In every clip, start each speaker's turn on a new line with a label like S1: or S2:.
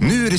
S1: Nu är det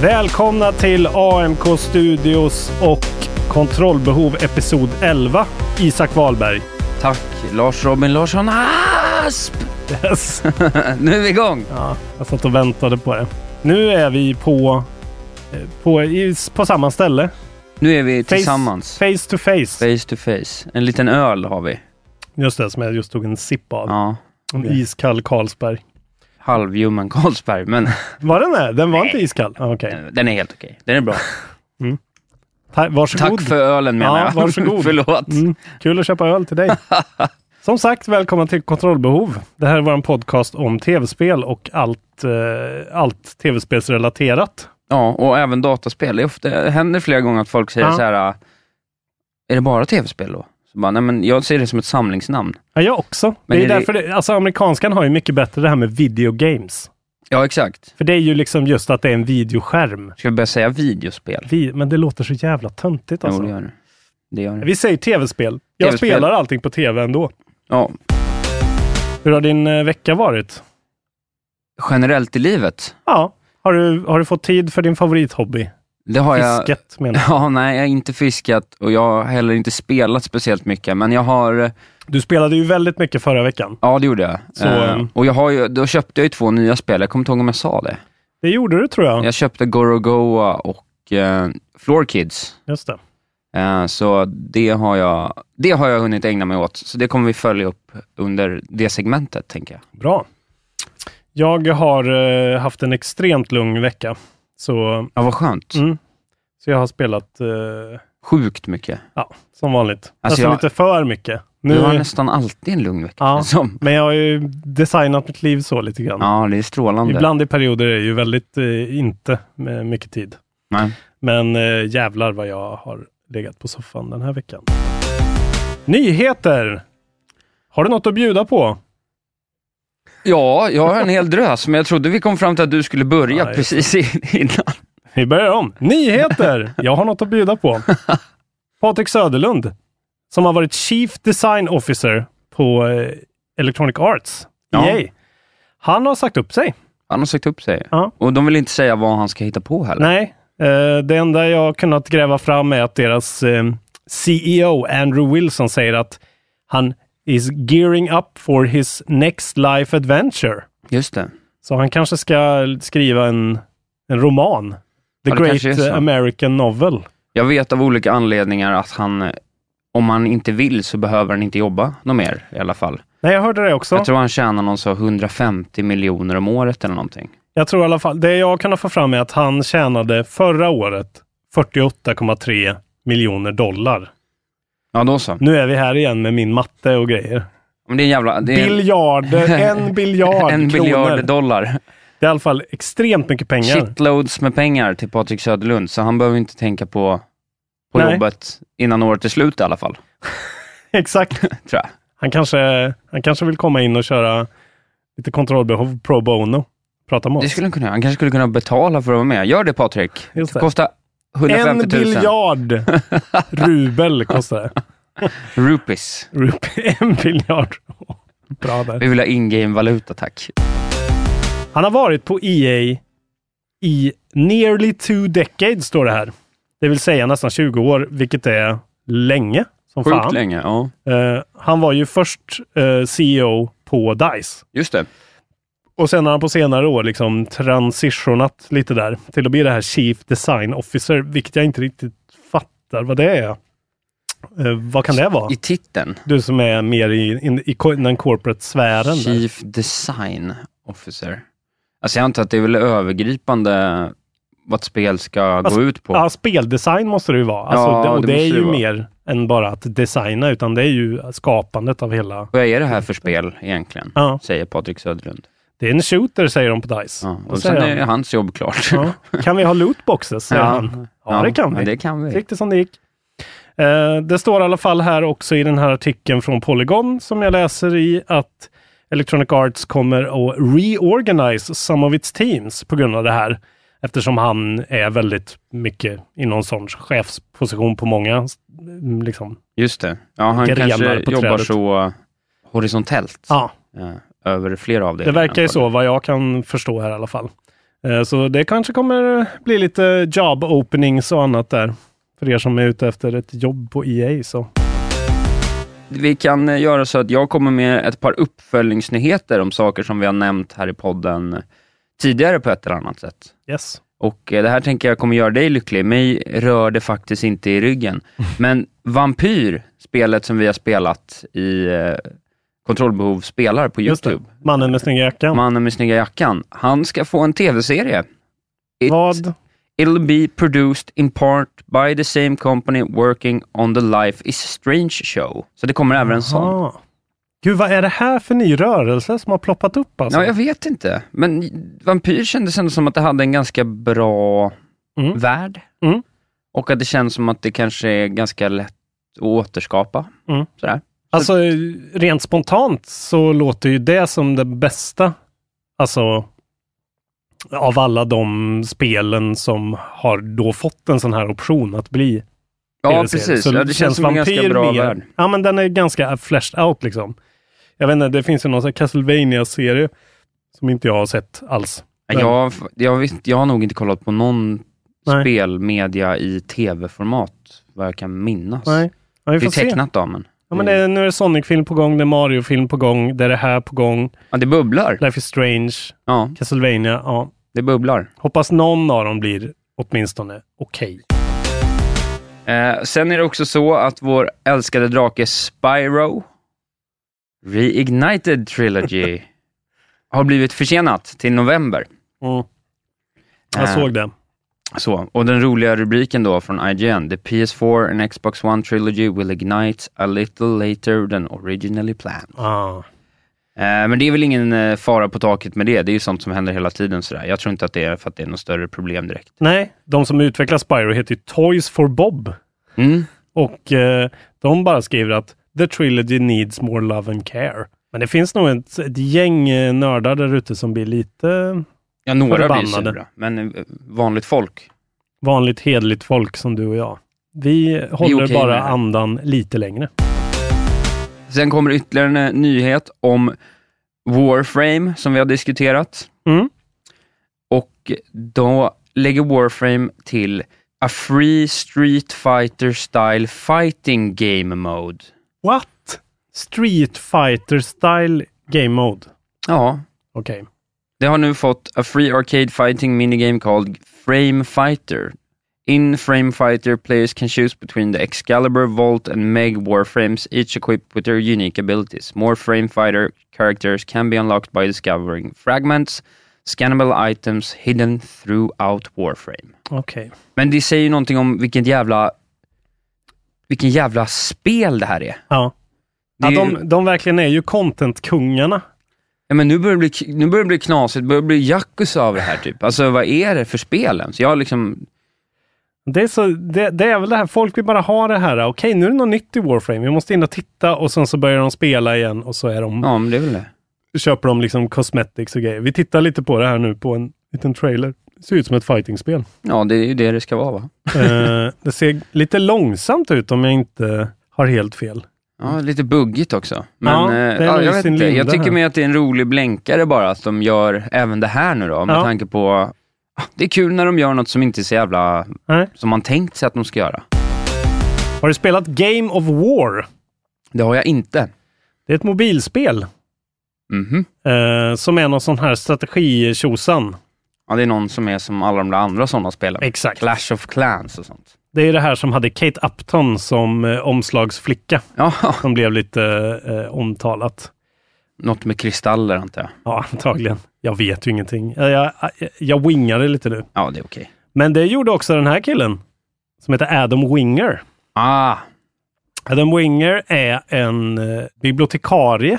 S2: Välkomna till AMK Studios och Kontrollbehov Episod 11. Isak Wahlberg.
S3: Tack Lars Robin Larsson Asp!
S2: Yes.
S3: Nu är vi igång!
S2: Ja, jag satt och väntade på det. Nu är vi på, eh, på, i- på samma ställe.
S3: Nu är vi
S2: Face-
S3: tillsammans.
S2: Face to face.
S3: Face to face. En liten öl har vi.
S2: Just det, som jag just tog en sipp av.
S3: Ja.
S2: En iskall Carlsberg.
S3: Halvljummen Carlsberg, men Eh,
S2: Var den det? Den var inte iskall? Ah, Okej. Mm.
S3: den är helt okej. Den är bra.
S2: Ta- Varsågod.
S3: Tack för ölen menar
S2: Ja,
S3: jag.
S2: varsågod.
S3: Förlåt.
S2: Mm, kul att köpa öl till dig. Som sagt, välkommen till Kontrollbehov. Det här är vår podcast om tv-spel och allt, eh, allt tv-spelsrelaterat.
S3: Ja, och även dataspel. Det, är ofta, det händer flera gånger att folk säger
S2: Ja.
S3: så här, "Ah, är det bara tv-spel då? Så bara, nej men jag ser det som ett samlingsnamn.
S2: Ja, jag också.
S3: Men
S2: det är,
S3: är det-
S2: därför det, alltså amerikanskan har ju mycket bättre det här med video games.
S3: Ja, exakt.
S2: För det är ju liksom just att det är en videoskärm.
S3: Ska vi börja säga videospel?
S2: Vi, men det låter så jävla töntigt
S3: Jo,
S2: alltså.
S3: det gör det. Det gör det.
S2: Vi säger tv-spel. Jag
S3: TV-spel.
S2: spelar allting på tv ändå.
S3: Ja,
S2: Hur har din eh, vecka varit?
S3: generellt i livet.
S2: Ja, har du, har du fått tid för din favorithobby?
S3: Det har jag...
S2: Fisket menar jag.
S3: Ja, nej, jag har inte fiskat och jag har heller inte spelat speciellt mycket, men jag har, eh,
S2: Du spelade ju väldigt mycket förra veckan.
S3: ja det gjorde jag.
S2: Så,
S3: Eh,
S2: ehm.
S3: och jag har ju, då köpte jag ju två nya spel, jag kommer inte ihåg om jag sa det.
S2: Det gjorde du tror jag.
S3: Jag köpte Gorogoa och eh, Floor Kids.
S2: Just det.
S3: Eh, så det har, jag, det har jag hunnit ägna mig åt, så det kommer vi följa upp under det segmentet, tänker jag.
S2: Bra. Jag har eh, haft en extremt lugn vecka. Så,
S3: Ja, vad skönt.
S2: mm, så jag har spelat eh,
S3: Sjukt mycket.
S2: Ja, som vanligt. Alltså,
S3: jag-
S2: lite för mycket.
S3: Du har
S2: Nu,
S3: nästan alltid en lugn vecka,
S2: Ja.
S3: känns som.
S2: men jag har ju designat mitt liv så lite grann.
S3: Ja, det är strålande.
S2: Ibland i perioder är det ju väldigt eh, inte med mycket tid.
S3: Nej.
S2: Men eh, jävlar vad jag har legat på soffan den här veckan. Nyheter! Har du något att bjuda på?
S3: Ja, jag har en hel drös, men jag trodde vi kom fram till att du skulle börja
S2: Ja, just
S3: precis innan.
S2: Vi börjar om. Nyheter! Jag har något att bjuda på. Patrik Söderlund, som har varit Chief Design Officer på eh, Electronic Arts,
S3: Ja.
S2: EA. Han har sagt upp sig.
S3: Han har sagt upp sig.
S2: Ja.
S3: Och de vill inte säga vad han ska hitta på heller.
S2: Nej, eh, det enda jag har kunnat gräva fram är att deras eh, CEO Andrew Wilson säger att han is gearing up for his next life adventure.
S3: Just det.
S2: Så han kanske ska skriva en, en roman. The
S3: Ja, det kanske är
S2: Great
S3: så.
S2: eh, American Novel.
S3: Jag vet av olika anledningar att han, eh, om han inte vill så behöver han inte jobba något mer i alla fall.
S2: Nej, jag hörde det också.
S3: Jag tror han tjänar någon så 150 miljoner om året eller någonting.
S2: Jag tror i alla fall, det jag kan få fram är att han tjänade förra året 48,3 miljoner dollar.
S3: Ja, då så.
S2: Nu är vi här igen med min matte och grejer.
S3: Men det är en jävla... Det är en,
S2: Biljarder, en biljard
S3: en
S2: kronor.
S3: biljard dollar.
S2: Det är i alla fall extremt mycket pengar.
S3: Shitloads med pengar till Patrik Söderlund, så han behöver inte tänka på, på
S2: Nej.
S3: jobbet innan året är slut i alla fall,
S2: Exakt.
S3: tror jag.
S2: Han kanske, han kanske vill komma in och köra lite kontrollbehov pro bono. Prata med
S3: Det
S2: oss.
S3: skulle han kunna göra. Han kanske skulle kunna betala för att vara med. Gör det Patrik.
S2: Just det.
S3: Det kostar
S2: En
S3: 150 000
S2: biljard rubel kostar det.
S3: rupees.
S2: Rup- en biljard. Bra där.
S3: Vi vill ha in-game-valuta, tack.
S2: Han har varit på E EA i nearly two decades, står det här. Det vill säga nästan 20 år, vilket är länge som
S3: Sjukt
S2: fan.
S3: länge, ja.
S2: Eh, han var ju först eh, CEO på DICE.
S3: Just det.
S2: Och sen har han på senare år liksom transitionat lite där till att bli det här Chief Design Officer, vilket jag inte riktigt fattar vad det är. Eh, vad kan det vara?
S3: I titeln.
S2: Du som är mer i, in, i ko- den corporate-sfären. där.
S3: Chief Design Officer. Alltså jag antar att det är väl övergripande vad ett spel ska
S2: Alltså,
S3: gå ut på.
S2: Ja, speldesign måste det ju vara. Alltså,
S3: Ja,
S2: det,
S3: det
S2: och det,
S3: måste
S2: är
S3: det
S2: ju
S3: vara.
S2: mer än bara att designa, utan det är ju skapandet av hela...
S3: Vad är det här för spel egentligen?
S2: Ja.
S3: Säger Patrik Söderlund.
S2: Det är en shooter, säger de på DICE.
S3: Ja.
S2: Då
S3: Och sen
S2: säger
S3: är
S2: han,
S3: hans jobb klart.
S2: ja. Kan vi ha lootboxes? Säger han. Ja, det kan
S3: Ja,
S2: vi.
S3: det kan vi.
S2: Fick det som det gick. Eh, det står i alla fall här också i den här artikeln från Polygon som jag läser i att Electronic Arts kommer att reorganize some of its teams på grund av det här. Eftersom han är väldigt mycket i någon sorts chefsposition på många mm, liksom.
S3: Just det. Ja, han
S2: Grenar
S3: kanske
S2: på
S3: jobbar
S2: trädet.
S3: så eh, horisontellt.
S2: Ja,
S3: Ja, över flera av
S2: det verkar ju så vad jag kan förstå här i alla fall. Eh, Så det kanske kommer bli lite job openings och annat där. För er som är ute efter ett jobb på EA så.
S3: Vi kan eh, göra så att jag kommer med ett par uppföljningsnyheter om saker som vi har nämnt här i podden tidigare på ett eller annat sätt.
S2: Yes.
S3: Och eh, det här tänker jag kommer göra dig lycklig. Mig rör det faktiskt inte i ryggen. Men Vampyr, spelet som vi har spelat i eh, Kontrollbehov spelar på
S2: Just
S3: YouTube.
S2: det. Mannen med snygga jackan.
S3: Mannen med snygga jackan. Han ska få en tv-serie. It-
S2: Vad?
S3: It'll be produced in part by the same company working on the Life is Strange show. Så det kommer även en sån.
S2: Ah. Gud, vad är det här för ny rörelse som har ploppat upp alltså?
S3: Ja, jag vet inte. Men Vampyr kändes ändå som att det hade en ganska bra
S2: Mm.
S3: värld.
S2: Mm.
S3: Och att det känns som att det kanske är ganska lätt att återskapa.
S2: Mm.
S3: Sådär.
S2: Alltså, rent spontant så låter ju det som det bästa. Alltså, av alla de spelen som har då fått en sån här option att bli
S3: Ja,
S2: tv-serie.
S3: precis.
S2: Så
S3: ja, det känns som en ganska
S2: Vampyr
S3: bra
S2: mer-
S3: värld.
S2: Ja, men den är ganska fleshed out liksom. Jag vet inte, det finns ju någon sån här Castlevania-serie som inte jag har sett alls.
S3: Jag, jag, visst, jag har nog inte kollat på någon
S2: Nej.
S3: spelmedia i tv-format, vad jag kan minnas.
S2: Nej. Ja, vi
S3: det är
S2: får se.
S3: tecknat då, men.
S2: Ja, men det är, nu är det Sonic-film på gång, det är Mario-film på gång, det är det här på gång,
S3: Ja, det bubblar.
S2: Life is Strange,
S3: Ja,
S2: Castlevania. Ja.
S3: det bubblar.
S2: Hoppas någon av dem blir åtminstone okej.
S3: Eh, sen är det också så att vår älskade drake Spyro Reignited Trilogy har blivit försenat till november.
S2: Mm. Jag
S3: Eh,
S2: såg det.
S3: Så, och den roliga rubriken då från IGN, The PS4 and Xbox One Trilogy will ignite a little later than originally planned.
S2: Ah.
S3: Eh, men det är väl ingen eh, fara på taket med det, det är ju sånt som händer hela tiden sådär. Jag tror inte att det är för att det är något större problem direkt.
S2: Nej, de som utvecklar Spyro heter ju Toys for Bob.
S3: Mm.
S2: Och eh, de bara skriver att the trilogy needs more love and care. Men det finns nog ett, ett gäng eh, nördar där ute som blir lite
S3: Ja, några blir
S2: Förbannade.
S3: sura, men eh, vanligt folk.
S2: vanligt hederligt folk som du och jag. Vi håller
S3: okej med
S2: bara
S3: det här.
S2: andan lite längre.
S3: Sen kommer ytterligare en eh, nyhet om Warframe, som vi har diskuterat.
S2: Mm.
S3: Och då lägger Warframe till A Free Street Fighter Style Fighting Game Mode.
S2: What? Street Fighter Style Game Mode.
S3: Ja,
S2: Okej.
S3: det har nu fått A Free Arcade Fighting Minigame called Frame Fighter. In Frame Fighter, players can choose between the Excalibur, Vault and Meg Warframes, each equipped with their unique abilities. More Frame Fighter characters can be unlocked by discovering fragments, scannable items hidden throughout Warframe.
S2: Okej.
S3: Men det säger ju någonting om vilken jävla, vilken jävla spel det här är.
S2: Ja.
S3: Det
S2: Ja,
S3: är ju-
S2: de, de verkligen är ju content-kungarna.
S3: Ja, men nu börjar det bli, nu börjar det bli knasigt, det börjar det bli jacuzzi av det här typ. Alltså vad är det för spel ens? Jag har liksom,
S2: Det är, så, det, det är väl det här, folk vill bara ha det här. Okej, nu är det något nytt i Warframe. Vi måste in och titta och sen så börjar de spela igen och så är de,
S3: ja men det är väl det.
S2: köper de liksom cosmetics och grejer. Vi tittar lite på det här nu på en liten trailer. Det ser ut som ett fightingspel.
S3: Ja det är ju det det ska vara va?
S2: Eh, det ser lite långsamt ut om jag inte har helt fel.
S3: Ja, lite buggigt också. Men
S2: Ja,
S3: eh,
S2: det
S3: ja, jag,
S2: är i
S3: vet
S2: sin
S3: inte. jag
S2: linda
S3: tycker
S2: här.
S3: mer att det är en rolig blänkare bara, att de gör även det här nu då, med
S2: Ja.
S3: tanke på... ah, Det är kul när de gör något som inte är så jävla...
S2: Nej.
S3: Som man tänkt sig att de ska göra.
S2: Har du spelat Game of War?
S3: Det har jag inte.
S2: Det är ett mobilspel
S3: Mhm.
S2: eh, som är någon sån här strategitjosan.
S3: Ja, det är någon som är som alla de där andra sådana spelen.
S2: Exakt.
S3: Clash of Clans och sånt.
S2: Det är det här som hade Kate Upton som eh, omslagsflicka,
S3: Ja,
S2: som blev lite eh, omtalat.
S3: något med kristaller antar jag.
S2: Ja, antagligen. Jag vet ju ingenting. Jag, jag, jag wingade lite nu.
S3: Ja, det är okej.
S2: Men det gjorde också den här killen, som heter Adam Winger.
S3: Ah,
S2: Adam Winger är en eh, bibliotekarie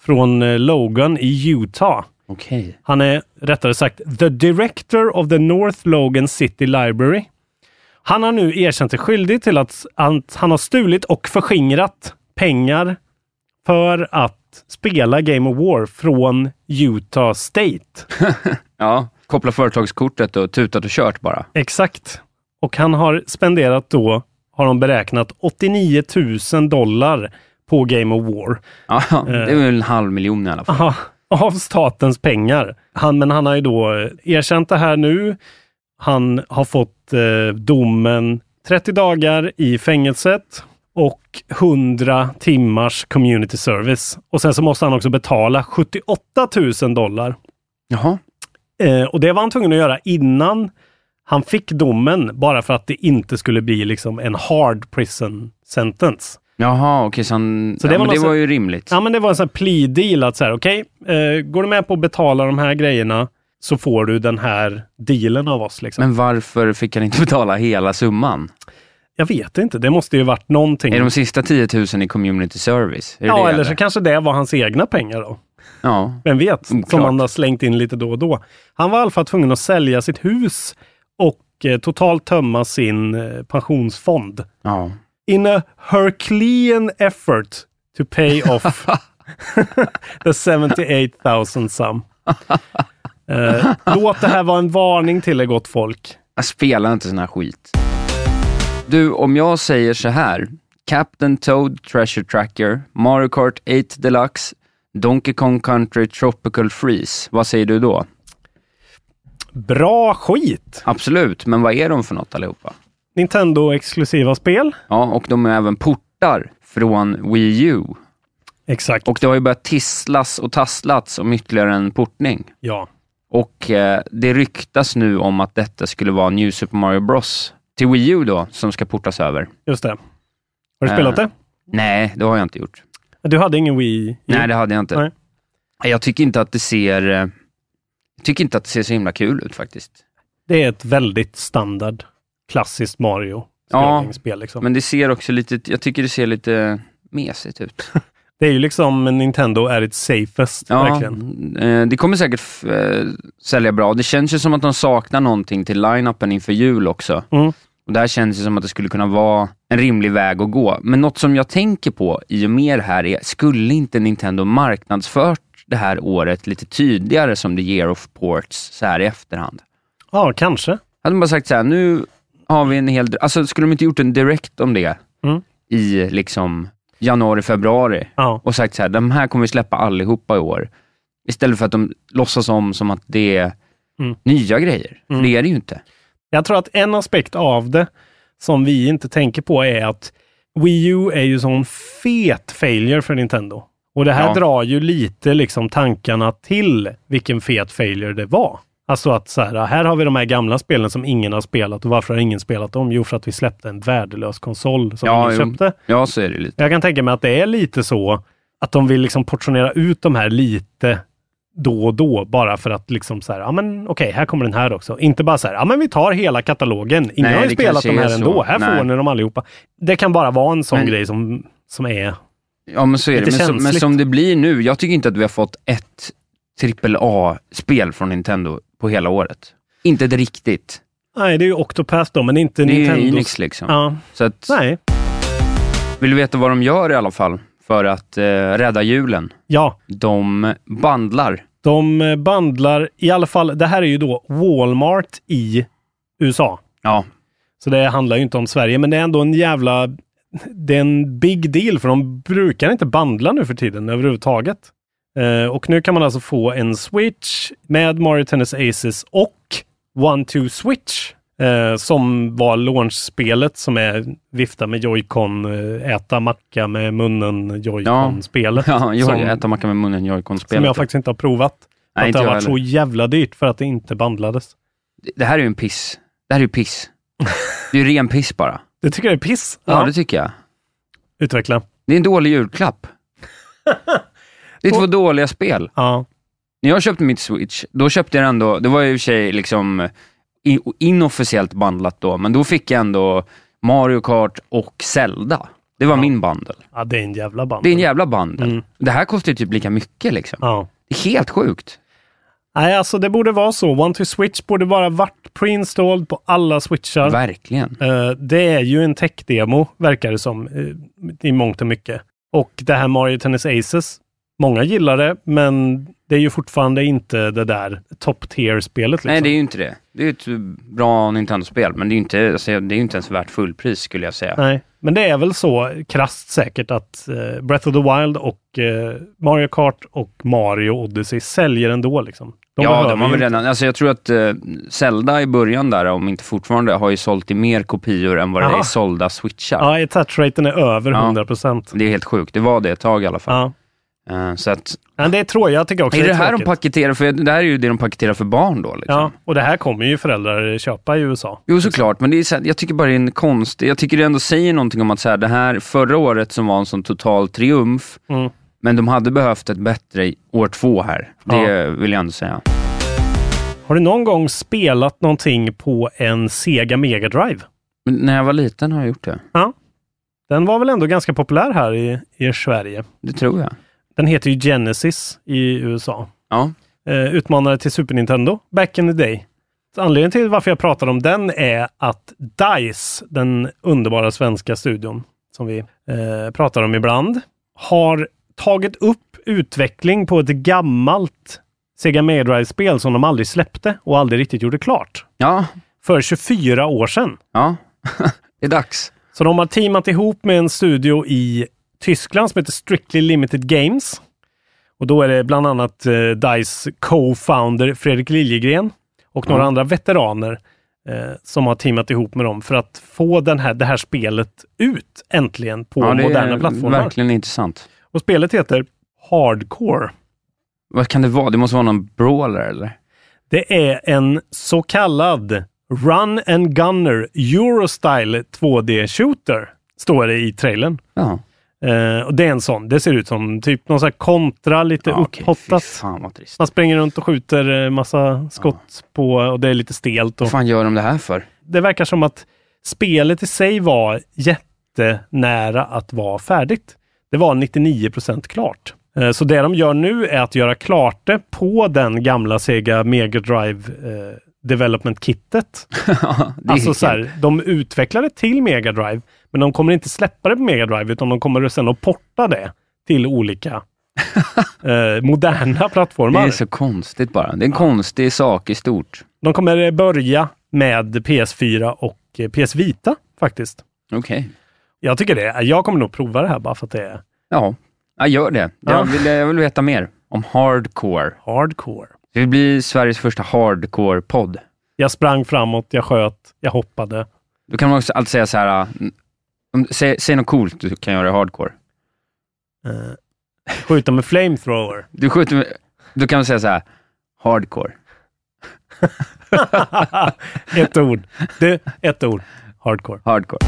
S2: från eh, Logan i Utah.
S3: okej.
S2: Han är rättare sagt the director of the North Logan City Library. Han har nu erkänt sig skyldig till att han, han har stulit och förskingrat pengar för att spela Game of War från Utah State.
S3: Ja, koppla företagskortet och tutat och kört bara.
S2: Exakt. Och han har spenderat då, har de beräknat, 89 000 dollar på Game of War.
S3: Ja, det är väl en halv miljon i alla fall.
S2: Aha, av statens pengar. Han, men han har ju då eh, erkänt det här nu. Han har fått eh, domen 30 dagar i fängelset och 100 timmars community service. Och sen så måste han också betala 78 000 dollar.
S3: Jaha.
S2: Eh, och det var han tvungen att göra innan han fick domen, bara för att det inte skulle bli liksom en hard prison sentence.
S3: Jaha, okej, så, han,
S2: Så
S3: så
S2: det
S3: det, ja,
S2: var
S3: men det
S2: någon
S3: var
S2: sån-
S3: ju rimligt.
S2: Ja, men det var en sån här plea deal att så här, okej, eh, går du med på att betala de här grejerna så får du den här dealen av oss. Liksom.
S3: Men varför fick han inte betala hela summan?
S2: Jag vet inte, det måste ju varit någonting.
S3: Är de sista 10 000 i community service? Är det
S2: ja,
S3: det,
S2: eller så kanske det var hans egna pengar då.
S3: Ja,
S2: Vem vet?
S3: Oklart.
S2: Som han har slängt in lite då och då. Han var i alla fall tvungen att sälja sitt hus och eh, totalt tömma sin eh, pensionsfond.
S3: ja.
S2: in a Herculean effort to pay off the 78,000 sum. Eh, låt det här vara en varning till er gott folk.
S3: Jag spelar inte sån här skit. Du, om jag säger så här. Captain Toad Treasure Tracker, Mario Kart 8 Deluxe, Donkey Kong Country Tropical Freeze. Vad säger du då?
S2: Bra skit!
S3: Absolut, men vad är de för något allihopa?
S2: Nintendo-exklusiva spel.
S3: Ja, och de är även portar från Wii U.
S2: Exakt.
S3: Och det har ju börjat tisslas och tasslats om ytterligare en portning.
S2: ja.
S3: Och eh, det ryktas nu om att detta skulle vara New Super Mario Bros. Till Wii U då, som ska portas över.
S2: Just det. Har du spelat det?
S3: Eh, Nej, det har jag inte gjort.
S2: Du hade ingen Wii?
S3: Nej, det hade jag inte.
S2: Nej.
S3: Jag tycker inte att det ser... eh, Jag tycker inte att det ser så himla kul ut faktiskt.
S2: Det är ett väldigt standard, klassiskt Mario.
S3: Ja,
S2: Spel, liksom.
S3: Men det ser också lite... Jag tycker det ser lite mesigt ut.
S2: Det är ju liksom Nintendo är its safest, verkligen.
S3: eh, det kommer säkert f- eh, sälja bra. Det känns ju som att de saknar någonting till line-upen inför jul också.
S2: Mm.
S3: Och det här känns ju som att det skulle kunna vara en rimlig väg att gå. Men något som jag tänker på i och med det här är, skulle inte Nintendo marknadsfört det här året lite tydligare som the year of ports så här i efterhand?
S2: Ja, kanske.
S3: Hade de bara sagt så här, nu har vi en hel... Alltså skulle de inte gjort en direkt om det
S2: Mm.
S3: i liksom januari, februari?
S2: Ja.
S3: och sagt så här, de här kommer vi släppa allihopa i år. Istället för att de låtsas om som att det är
S2: Mm.
S3: nya grejer. För Det är det ju inte.
S2: Jag tror att en aspekt av det som vi inte tänker på är att Wii U är ju sån fet failure för Nintendo. Och det här
S3: Ja.
S2: drar ju lite liksom tankarna till vilken fet failure det var. Alltså att så här, här har vi de här gamla spelen som ingen har spelat och varför har ingen spelat dem? Jo, för att vi släppte en värdelös konsol som
S3: Ja,
S2: ingen
S3: jo.
S2: köpte.
S3: Ja, så är det lite.
S2: Jag kan tänka mig att det är lite så att de vill liksom portionera ut de här lite då och då bara för att liksom så här, ja men okej, här kommer den här också. Inte bara så här, ja men vi tar hela katalogen. Ingen
S3: Nej,
S2: har ju
S3: det
S2: spelat
S3: kanske
S2: de här
S3: är så.
S2: ändå. Här
S3: Nej.
S2: får ni dem allihopa. Det kan bara vara en sån
S3: Men-
S2: grej som, som är,
S3: Ja, men så är det.
S2: Lite
S3: Men, som- men
S2: känsligt.
S3: som det blir nu, jag tycker inte att vi har fått ett AAA-spel från Nintendo på hela året. Inte ett riktigt.
S2: nej det är ju Octopath då, men inte
S3: Det är ju
S2: Nintendo.
S3: Enix liksom.
S2: Ja,
S3: Så att,
S2: nej.
S3: vill du veta vad de gör i alla fall för att eh, rädda julen?
S2: Ja,
S3: De bandlar.
S2: de eh, bandlar, i alla fall, det här är ju då Walmart i USA.
S3: Ja,
S2: Så det handlar ju inte om Sverige, men det är ändå en jävla... det är en big deal för de brukar inte bandla nu för tiden överhuvudtaget. Eh, och nu kan man alltså få en Switch med Mario Tennis Aces och One Two Switch eh, som var launchspelet som är vifta med joycon, eh, äta macka med munnen joycon-spelet.
S3: Ja, jag har ju
S2: som,
S3: äta macka med munnen, joycon-spelet.
S2: som jag faktiskt inte har provat. För
S3: Nej,
S2: att
S3: inte
S2: det har
S3: jag
S2: varit så
S3: heller.
S2: jävla dyrt för att det inte bandlades.
S3: Det här är ju en piss. Det här är ju piss. Det är ju ren piss bara.
S2: Det tycker jag är piss.
S3: Ja, det tycker jag.
S2: Utveckla.
S3: Det är en dålig julklapp. Det är två dåliga spel.
S2: Ja.
S3: När jag köpte mitt Switch, då köpte jag ändå, det var ju i och för sig liksom i- inofficiellt bandlat då, men då fick jag ändå Mario Kart och Zelda. Det var min bandel.
S2: ja, det är en jävla band.
S3: Det är en jävla bandel.
S2: Mm.
S3: Det här kostar ju typ lika mycket liksom.
S2: Ja.
S3: Det är helt sjukt.
S2: Nej, alltså det borde vara så. One to switch borde bara varit preinstalled på alla switchar.
S3: Verkligen.
S2: Eh, det är ju en tech-demo, verkar det som, eh, i mångt och mycket. Och det här Mario Tennis Aces, många gillar det, men det är ju fortfarande inte det där top tier-spelet. Liksom.
S3: Nej, det är ju inte det. Det är ju ett bra Nintendo-spel, men det är ju inte, alltså, det är ju inte ens värt fullpris skulle jag säga.
S2: Nej, men det är väl så krasst säkert att eh, Breath of the Wild och eh, Mario Kart och Mario Odyssey säljer ändå liksom.
S3: ja,
S2: behöver
S3: de har
S2: ju
S3: väl
S2: inte-
S3: redan, alltså jag tror att eh, Zelda i början där, om inte fortfarande, har ju sålt i mer kopior än vad det
S2: Aha.
S3: är sålda switchar.
S2: Ja, attach-raten är över
S3: Ja.
S2: 100 procent.
S3: Det är helt sjukt. Det var det ett tag i alla fall.
S2: Ja.
S3: Eh, Så att,
S2: Men det är tråkigt, jag tycker också
S3: är det
S2: är
S3: här de
S2: tråkigt.
S3: paketerar för, det här är ju det de paketerar för barn då liksom.
S2: Ja, och det här kommer ju föräldrar köpa i USA.
S3: Jo, såklart, men det är så här, jag tycker bara det är en konst. Jag tycker det ändå säger någonting om att så här, det här förra året som var en sån total triumf,
S2: Mm.
S3: men de hade behövt ett bättre i år två här. Det
S2: Ja.
S3: vill jag ändå säga.
S2: Har du någon gång spelat någonting på en Sega Mega Drive?
S3: Men när jag var liten har jag gjort det.
S2: Den var väl ändå ganska populär här i, i Sverige.
S3: Det tror jag.
S2: Den heter ju Genesis i USA.
S3: Ja.
S2: eh, utmanare till Super Nintendo back in the day. Så Anledningen till varför jag pratar om den är att DICE, den underbara svenska studion som vi eh, pratar om ibland, har tagit upp utveckling på ett gammalt Sega Mega Drive-spel som de aldrig släppte och aldrig riktigt gjorde klart.
S3: Ja.
S2: För 24 år sedan.
S3: Ja. det är dags.
S2: Så de har teamat ihop med en studio i Tyskland som heter Strictly Limited Games. Och då är det bland annat eh, DICE co-founder Fredrik Liljegren och
S3: Mm.
S2: några andra veteraner eh, som har teamat ihop med dem för att få den här, det här spelet ut äntligen på
S3: Ja, det
S2: moderna
S3: är
S2: plattformar.
S3: verkligen intressant.
S2: Och spelet heter Hardcore.
S3: Vad kan det vara? Det måste vara någon brawler eller?
S2: Det är en så kallad Run and Gunner Eurostyle 2D-shooter, står det i trailern.
S3: Ja.
S2: Eh, och det är en sån. Det ser ut som typ någon sån här kontra, lite
S3: ja, okej. Fy
S2: upphottat.
S3: fan vad trist.
S2: Man springer runt och skjuter eh, massa skott på och det är lite stelt. Och
S3: Vad fan gör de det här för?
S2: det verkar som att spelet i sig var jättenära att vara färdigt. Det var 99 klart. Eh, Så det de gör nu är att göra klart det på den gamla Sega Mega Drive eh, Development Kittet.
S3: det är
S2: Alltså
S3: helt
S2: så här, de utvecklar det till Mega Drive, men de kommer inte släppa det på Mega Drive, utan de kommer sen att porta det till olika eh, moderna
S3: Det
S2: plattformar.
S3: är så konstigt bara. Det är en konstig sak i stort.
S2: De kommer eh, börja med PS4 och eh, PS Vita faktiskt.
S3: Okej.
S2: Jag tycker det. Jag kommer nog prova det här bara för att det är
S3: Ja. ja, gör det.
S2: Ja.
S3: Jag, vill, eh, jag vill veta mer om hardcore.
S2: hardcore.
S3: Det blir Sveriges första hardcore-podd.
S2: Jag sprang framåt, jag sköt, jag hoppade.
S3: Då kan man också alltid säga så här, äh, om- säg, säg något coolt du kan göra i hardcore.
S2: Eh, skjuta med flamethrower.
S3: Du skjuter med, då kan man säga så här, hardcore.
S2: ett ord. Du, ett ord. Hardcore.
S3: Hardcore.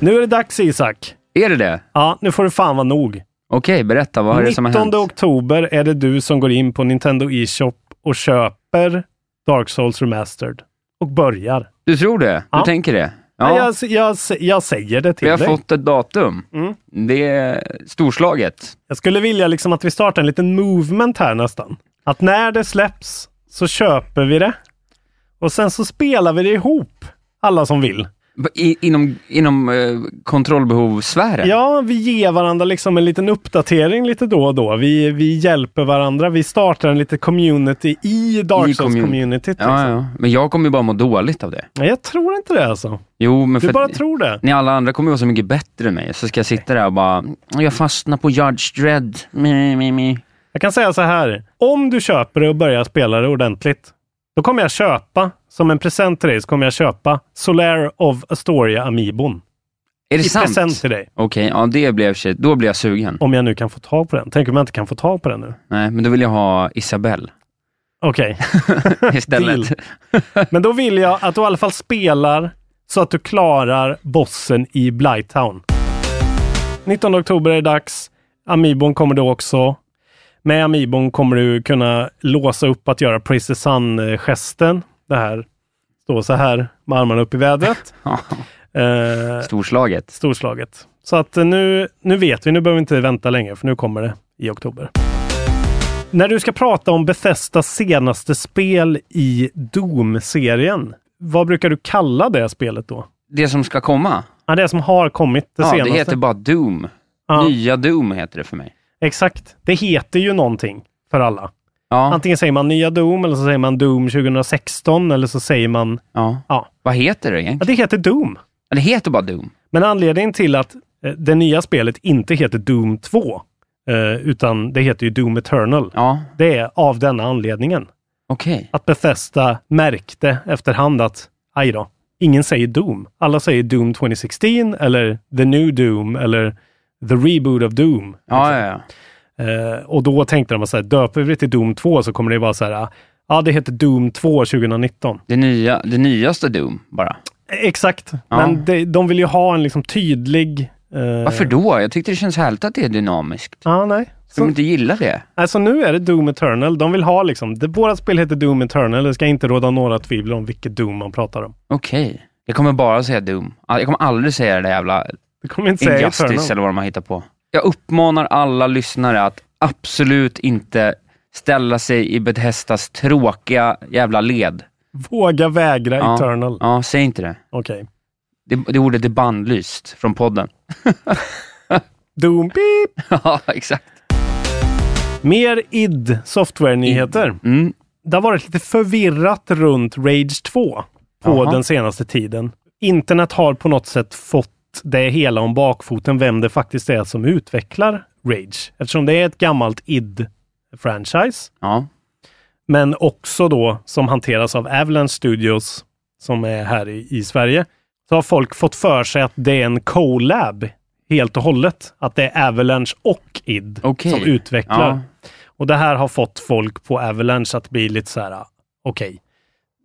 S2: Nu är det dags Isak.
S3: Är det det?
S2: Ja, nu får det fan vara nog.
S3: Okej, berätta. Vad är det som har
S2: 19
S3: hänt?
S2: oktober är det du som går in på Nintendo eShop och köper Dark Souls Remastered. Och börjar.
S3: Du tror det? Du
S2: Ja.
S3: tänker det?
S2: Nej,
S3: Ja,
S2: Jag, jag, jag säger det till
S3: vi har
S2: dig.
S3: fått ett datum.
S2: Mm.
S3: Det är storslaget.
S2: Jag skulle vilja liksom att vi startar en liten movement här nästan. Att när det släpps så köper vi det. Och sen så spelar vi det ihop. Alla som vill.
S3: I, inom inom eh, kontrollbehovssfären?
S2: Ja, vi ger varandra liksom en liten uppdatering lite då och då. Vi, vi hjälper varandra. Vi startar en liten community i Dark
S3: I commun-
S2: Souls-communityt.
S3: Ja,
S2: liksom.
S3: ja. Men jag kommer ju bara må dåligt av det.
S2: Nej, Jag tror inte det alltså.
S3: Jo, men
S2: Du
S3: för
S2: bara
S3: att
S2: tror det.
S3: ni alla andra kommer ju vara så mycket bättre än mig, så ska jag sitta där och bara, jag fastnar på Judge Dredd. Me, me, me.
S2: Jag kan säga så här. Om du köper det och börjar spela det ordentligt, då kommer jag köpa, som en present till dig, så kommer jag köpa Solaire of Astoria Amiibon.
S3: Är det
S2: I
S3: sant?
S2: present till
S3: Okej,
S2: dig.
S3: ja det blev shit. Då blir jag sugen.
S2: Om jag nu kan få tag på den. Tänk om jag inte kan få tag på den nu.
S3: Nej, men då vill jag ha Isabelle
S2: Okej,
S3: istället.
S2: Deal. men då vill jag att du i alla fall spelar så att du klarar bossen i Blighttown. 19 oktober är det dags. Amiibon kommer då också. Med Amiibon kommer du kunna låsa upp att göra Princess Sun-gesten. Det här, stå så här med armarna upp i vädret.
S3: Ja,
S2: Eh,
S3: Storslaget.
S2: storslaget. Så att eh, nu, nu vet vi, nu behöver vi inte vänta längre för nu kommer det i oktober. När du ska prata om Bethesdas senaste spel i Doom-serien, vad brukar du kalla det spelet då?
S3: Det som ska komma.
S2: Ja, det som har kommit det
S3: ja,
S2: senaste.
S3: det heter bara Doom.
S2: Ja.
S3: Nya Doom heter det för mig.
S2: Exakt. Det heter ju någonting för alla.
S3: Ja,
S2: Antingen säger man nya Doom eller så säger man Doom 2016 eller så säger man...
S3: ja.
S2: Ja,
S3: Vad heter det
S2: ja
S3: egentligen?
S2: det heter Doom.
S3: Ja, Det heter bara Doom.
S2: Men anledningen till att eh, det nya spelet inte heter Doom 2, eh, utan det heter ju Doom Eternal.
S3: Ja,
S2: Det är av denna anledningen.
S3: okej.
S2: Att Bethesda märkte efterhand att, aj då, ingen säger Doom. Alla säger Doom 2016 eller The New Doom eller The Reboot of Doom.
S3: Ja, ja, ja.
S2: Eh, och då tänkte de så här, döper vi det till Doom 2 så kommer det vara så här, ah, ja det heter Doom 2 2019.
S3: Det, nya, det nyaste Doom bara.
S2: Exakt,
S3: Ja.
S2: men de, de vill ju ha en liksom tydlig... eh,
S3: Varför då? Jag tyckte det känns härligt att det är dynamiskt.
S2: Ja, nej.
S3: De
S2: Så-
S3: inte gillar det.
S2: Alltså nu är det Doom Eternal. De vill ha liksom, det, vårat spel heter Doom Eternal. Det ska inte råda några tvivel om vilket Doom man pratar om.
S3: Okej. Jag kommer bara säga Doom. All- Jag kommer aldrig säga det där jävla
S2: Det kommer inte säga
S3: Injustice
S2: Eternal.
S3: eller vad de har hittat på. Jag uppmanar alla lyssnare att absolut inte ställa sig i Bethesdas tråkiga jävla led.
S2: Våga vägra
S3: Ja.
S2: Eternal.
S3: Ja, säg inte det.
S2: Okej.
S3: Det, det ordet är bannlyst från podden.
S2: Doom beep!
S3: ja, exakt.
S2: Mer id software-nyheter.
S3: Mm.
S2: Det har varit lite förvirrat runt Rage 2 på
S3: Jaha.
S2: den senaste tiden. Internet har på något sätt fått det hela om bakfoten, vem det faktiskt är som utvecklar Rage. Eftersom det är ett gammalt id-franchise.
S3: Ja.
S2: men också då som hanteras av Avalanche Studios som är här i, i Sverige. Så har folk fått för sig att det är en collab helt och hållet. Att det är Avalanche och id
S3: Okej.
S2: som utvecklar.
S3: Ja.
S2: Och det här har fått folk på Avalanche att bli lite så här, ah, okej,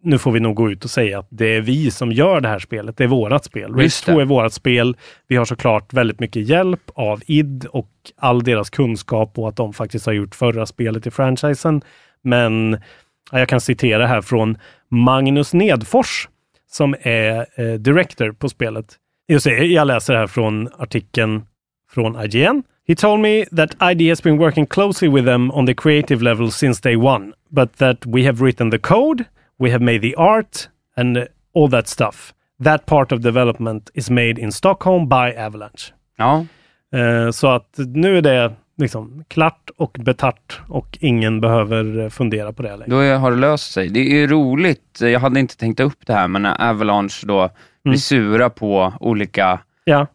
S2: nu får vi nog gå ut och säga att det är vi som gör det här spelet. Det är vårat spel. Rage
S3: Just det.
S2: 2 är vårat spel. Vi har såklart väldigt mycket hjälp av id och all deras kunskap och att de faktiskt har gjort förra spelet i franchisen. Men ja, jag kan citera här från Magnus Nedfors som är eh, director på spelet. Just det, jag läser här från artikeln från IGN. He told me that ID has been working closely with them on the creative level since day one, but that we have written the code, we have made the art and uh, all that stuff. That part of development is made in Stockholm by Avalanche.
S3: Ja.
S2: Eh, så att nu är det liksom klart och betart och ingen behöver eh, fundera på det längre.
S3: Då är- har det löst sig. Det är ju roligt. Jag hade inte tänkt ta upp det här, men när Avalanche då blir
S2: Mm.
S3: sura på olika
S2: Ja,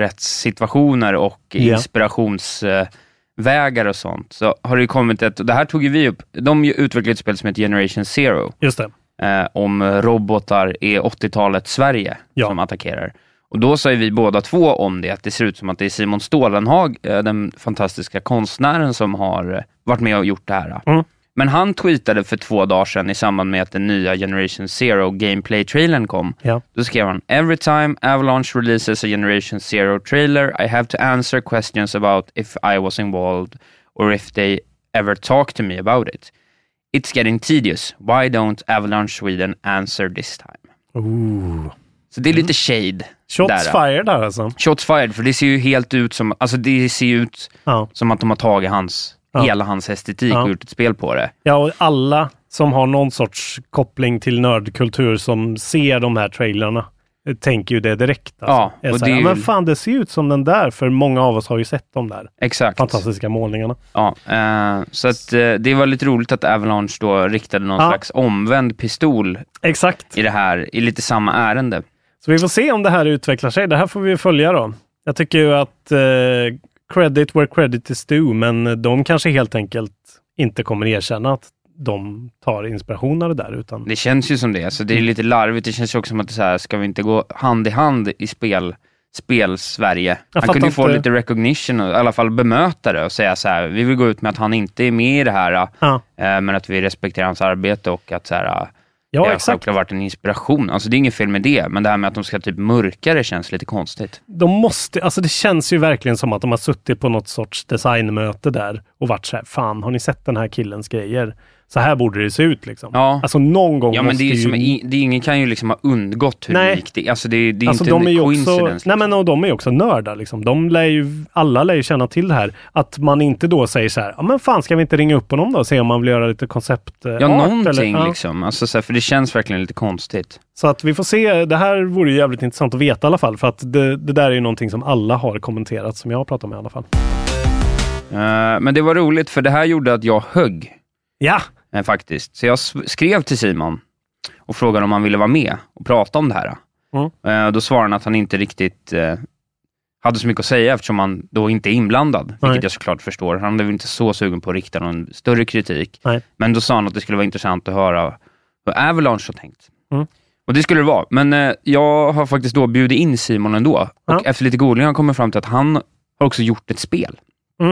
S3: upphovsrättssituationer och
S2: Ja.
S3: inspirationsvägar och sånt, så har det ju kommit ett, och det här tog ju vi upp, de ju utvecklade ett spel som heter Generation Zero,
S2: just det.
S3: eh, om robotar i 80-talet Sverige
S2: Ja.
S3: som attackerar. Och då sa ju vi båda två om det, att det ser ut som att det är Simon Stålenhag, eh, den fantastiska konstnären, som har eh, varit med och gjort det här.
S2: Mm.
S3: Men han tweetade för två dagar sedan i samband med att den nya Generation Zero Gameplay-trailern kom.
S2: Ja.
S3: Då skrev han, “Every time Avalanche releases a Generation Zero trailer, I have to answer questions about if I was involved or if they ever talked to me about it. It's getting tedious. Why don't Avalanche Sweden answer this time?”
S2: Ooh. Mm.
S3: Så det är lite shade.
S2: Shots
S3: där.
S2: fired där alltså.
S3: Shots fired, för det ser ju helt ut som, alltså det ser ju ut
S2: Ja.
S3: som att de har tagit hans,
S2: Ja.
S3: hela hans estetik
S2: Ja.
S3: och gjort ett spel på det.
S2: Ja, och alla som har någon sorts koppling till nördkultur som ser de här trailerna eh, tänker ju det direkt. Alltså.
S3: Ja,
S2: Är
S3: och
S2: så här,
S3: det är
S2: Men
S3: ju-
S2: fan, det ser ut som den där, för många av oss har ju sett de där
S3: Exakt.
S2: fantastiska målningarna.
S3: Ja, eh, så att, eh, det var lite roligt att Avalanche då riktade någon
S2: Ja.
S3: slags omvänd pistol
S2: Exakt.
S3: i det här, i lite samma ärende.
S2: Så vi får se om det här utvecklar sig. Det här får vi följa då. Jag tycker ju att eh, credit where credit is due, men de kanske helt enkelt inte kommer erkänna att de tar inspiration av det där, utan Mm.
S3: Det känns ju som det, så det är lite larvigt. Det känns ju också som att det är så här, ska vi inte gå hand i hand i spel, spel-Sverige?
S2: Jag
S3: Han kunde ju få
S2: fattar inte.
S3: lite recognition, och i alla fall bemöta det och säga så här, vi vill gå ut med att han inte är med i det här, eh,
S2: Ja,
S3: men att vi respekterar hans arbete och att så här, eh, det
S2: ja
S3: har
S2: exakt.
S3: självklart varit en inspiration. Alltså det är inget fel med det, men det här med att de ska typ mörka det känns lite konstigt.
S2: De måste, alltså det känns ju verkligen som att de har suttit på något sorts designmöte där och varit så här, fan har ni sett den här killens grejer? Så här borde det se ut liksom.
S3: Ja.
S2: Alltså någon gång
S3: Ja, men
S2: måste
S3: det är ju
S2: ju...
S3: som, i- det är ingen kan ju liksom ha undgått hur
S2: Nej.
S3: unikt det är. Alltså det, är- det är
S2: alltså
S3: inte
S2: de är
S3: en
S2: ju
S3: coincidence. liksom.
S2: också, nej men och de är ju också nördar liksom. De lär ju, alla lär ju känna till det här. Att man inte då säger så här, ja men fan ska vi inte ringa upp honom då och se om man vill göra lite koncept eh,
S3: Ja,
S2: art
S3: någonting
S2: ja.
S3: liksom. Alltså, så här, för det känns verkligen lite konstigt.
S2: Så att vi får se, det här vore ju jävligt intressant att veta i alla fall. För att det, det där är ju någonting som alla har kommenterat, som jag har pratat med i alla fall.
S3: Eh, men det var roligt, för det här gjorde att jag högg
S2: Ja,
S3: eh, faktiskt. Så jag s- skrev till Simon och frågade om han ville vara med och prata om det här.
S2: Mm.
S3: Eh, då svarade han att han inte riktigt eh, hade så mycket att säga eftersom han då inte är inblandad,
S2: Nej.
S3: vilket jag såklart förstår. Han blev inte så sugen på att rikta någon större kritik.
S2: Nej.
S3: Men då sa han att det skulle vara intressant att höra hur Avalanche har tänkt.
S2: Mm.
S3: Och det skulle det vara. Men eh, jag har faktiskt då bjudit in Simon ändå. Och
S2: Ja.
S3: efter lite googling har jag kommit fram till att han har också gjort ett spel.
S2: mhm.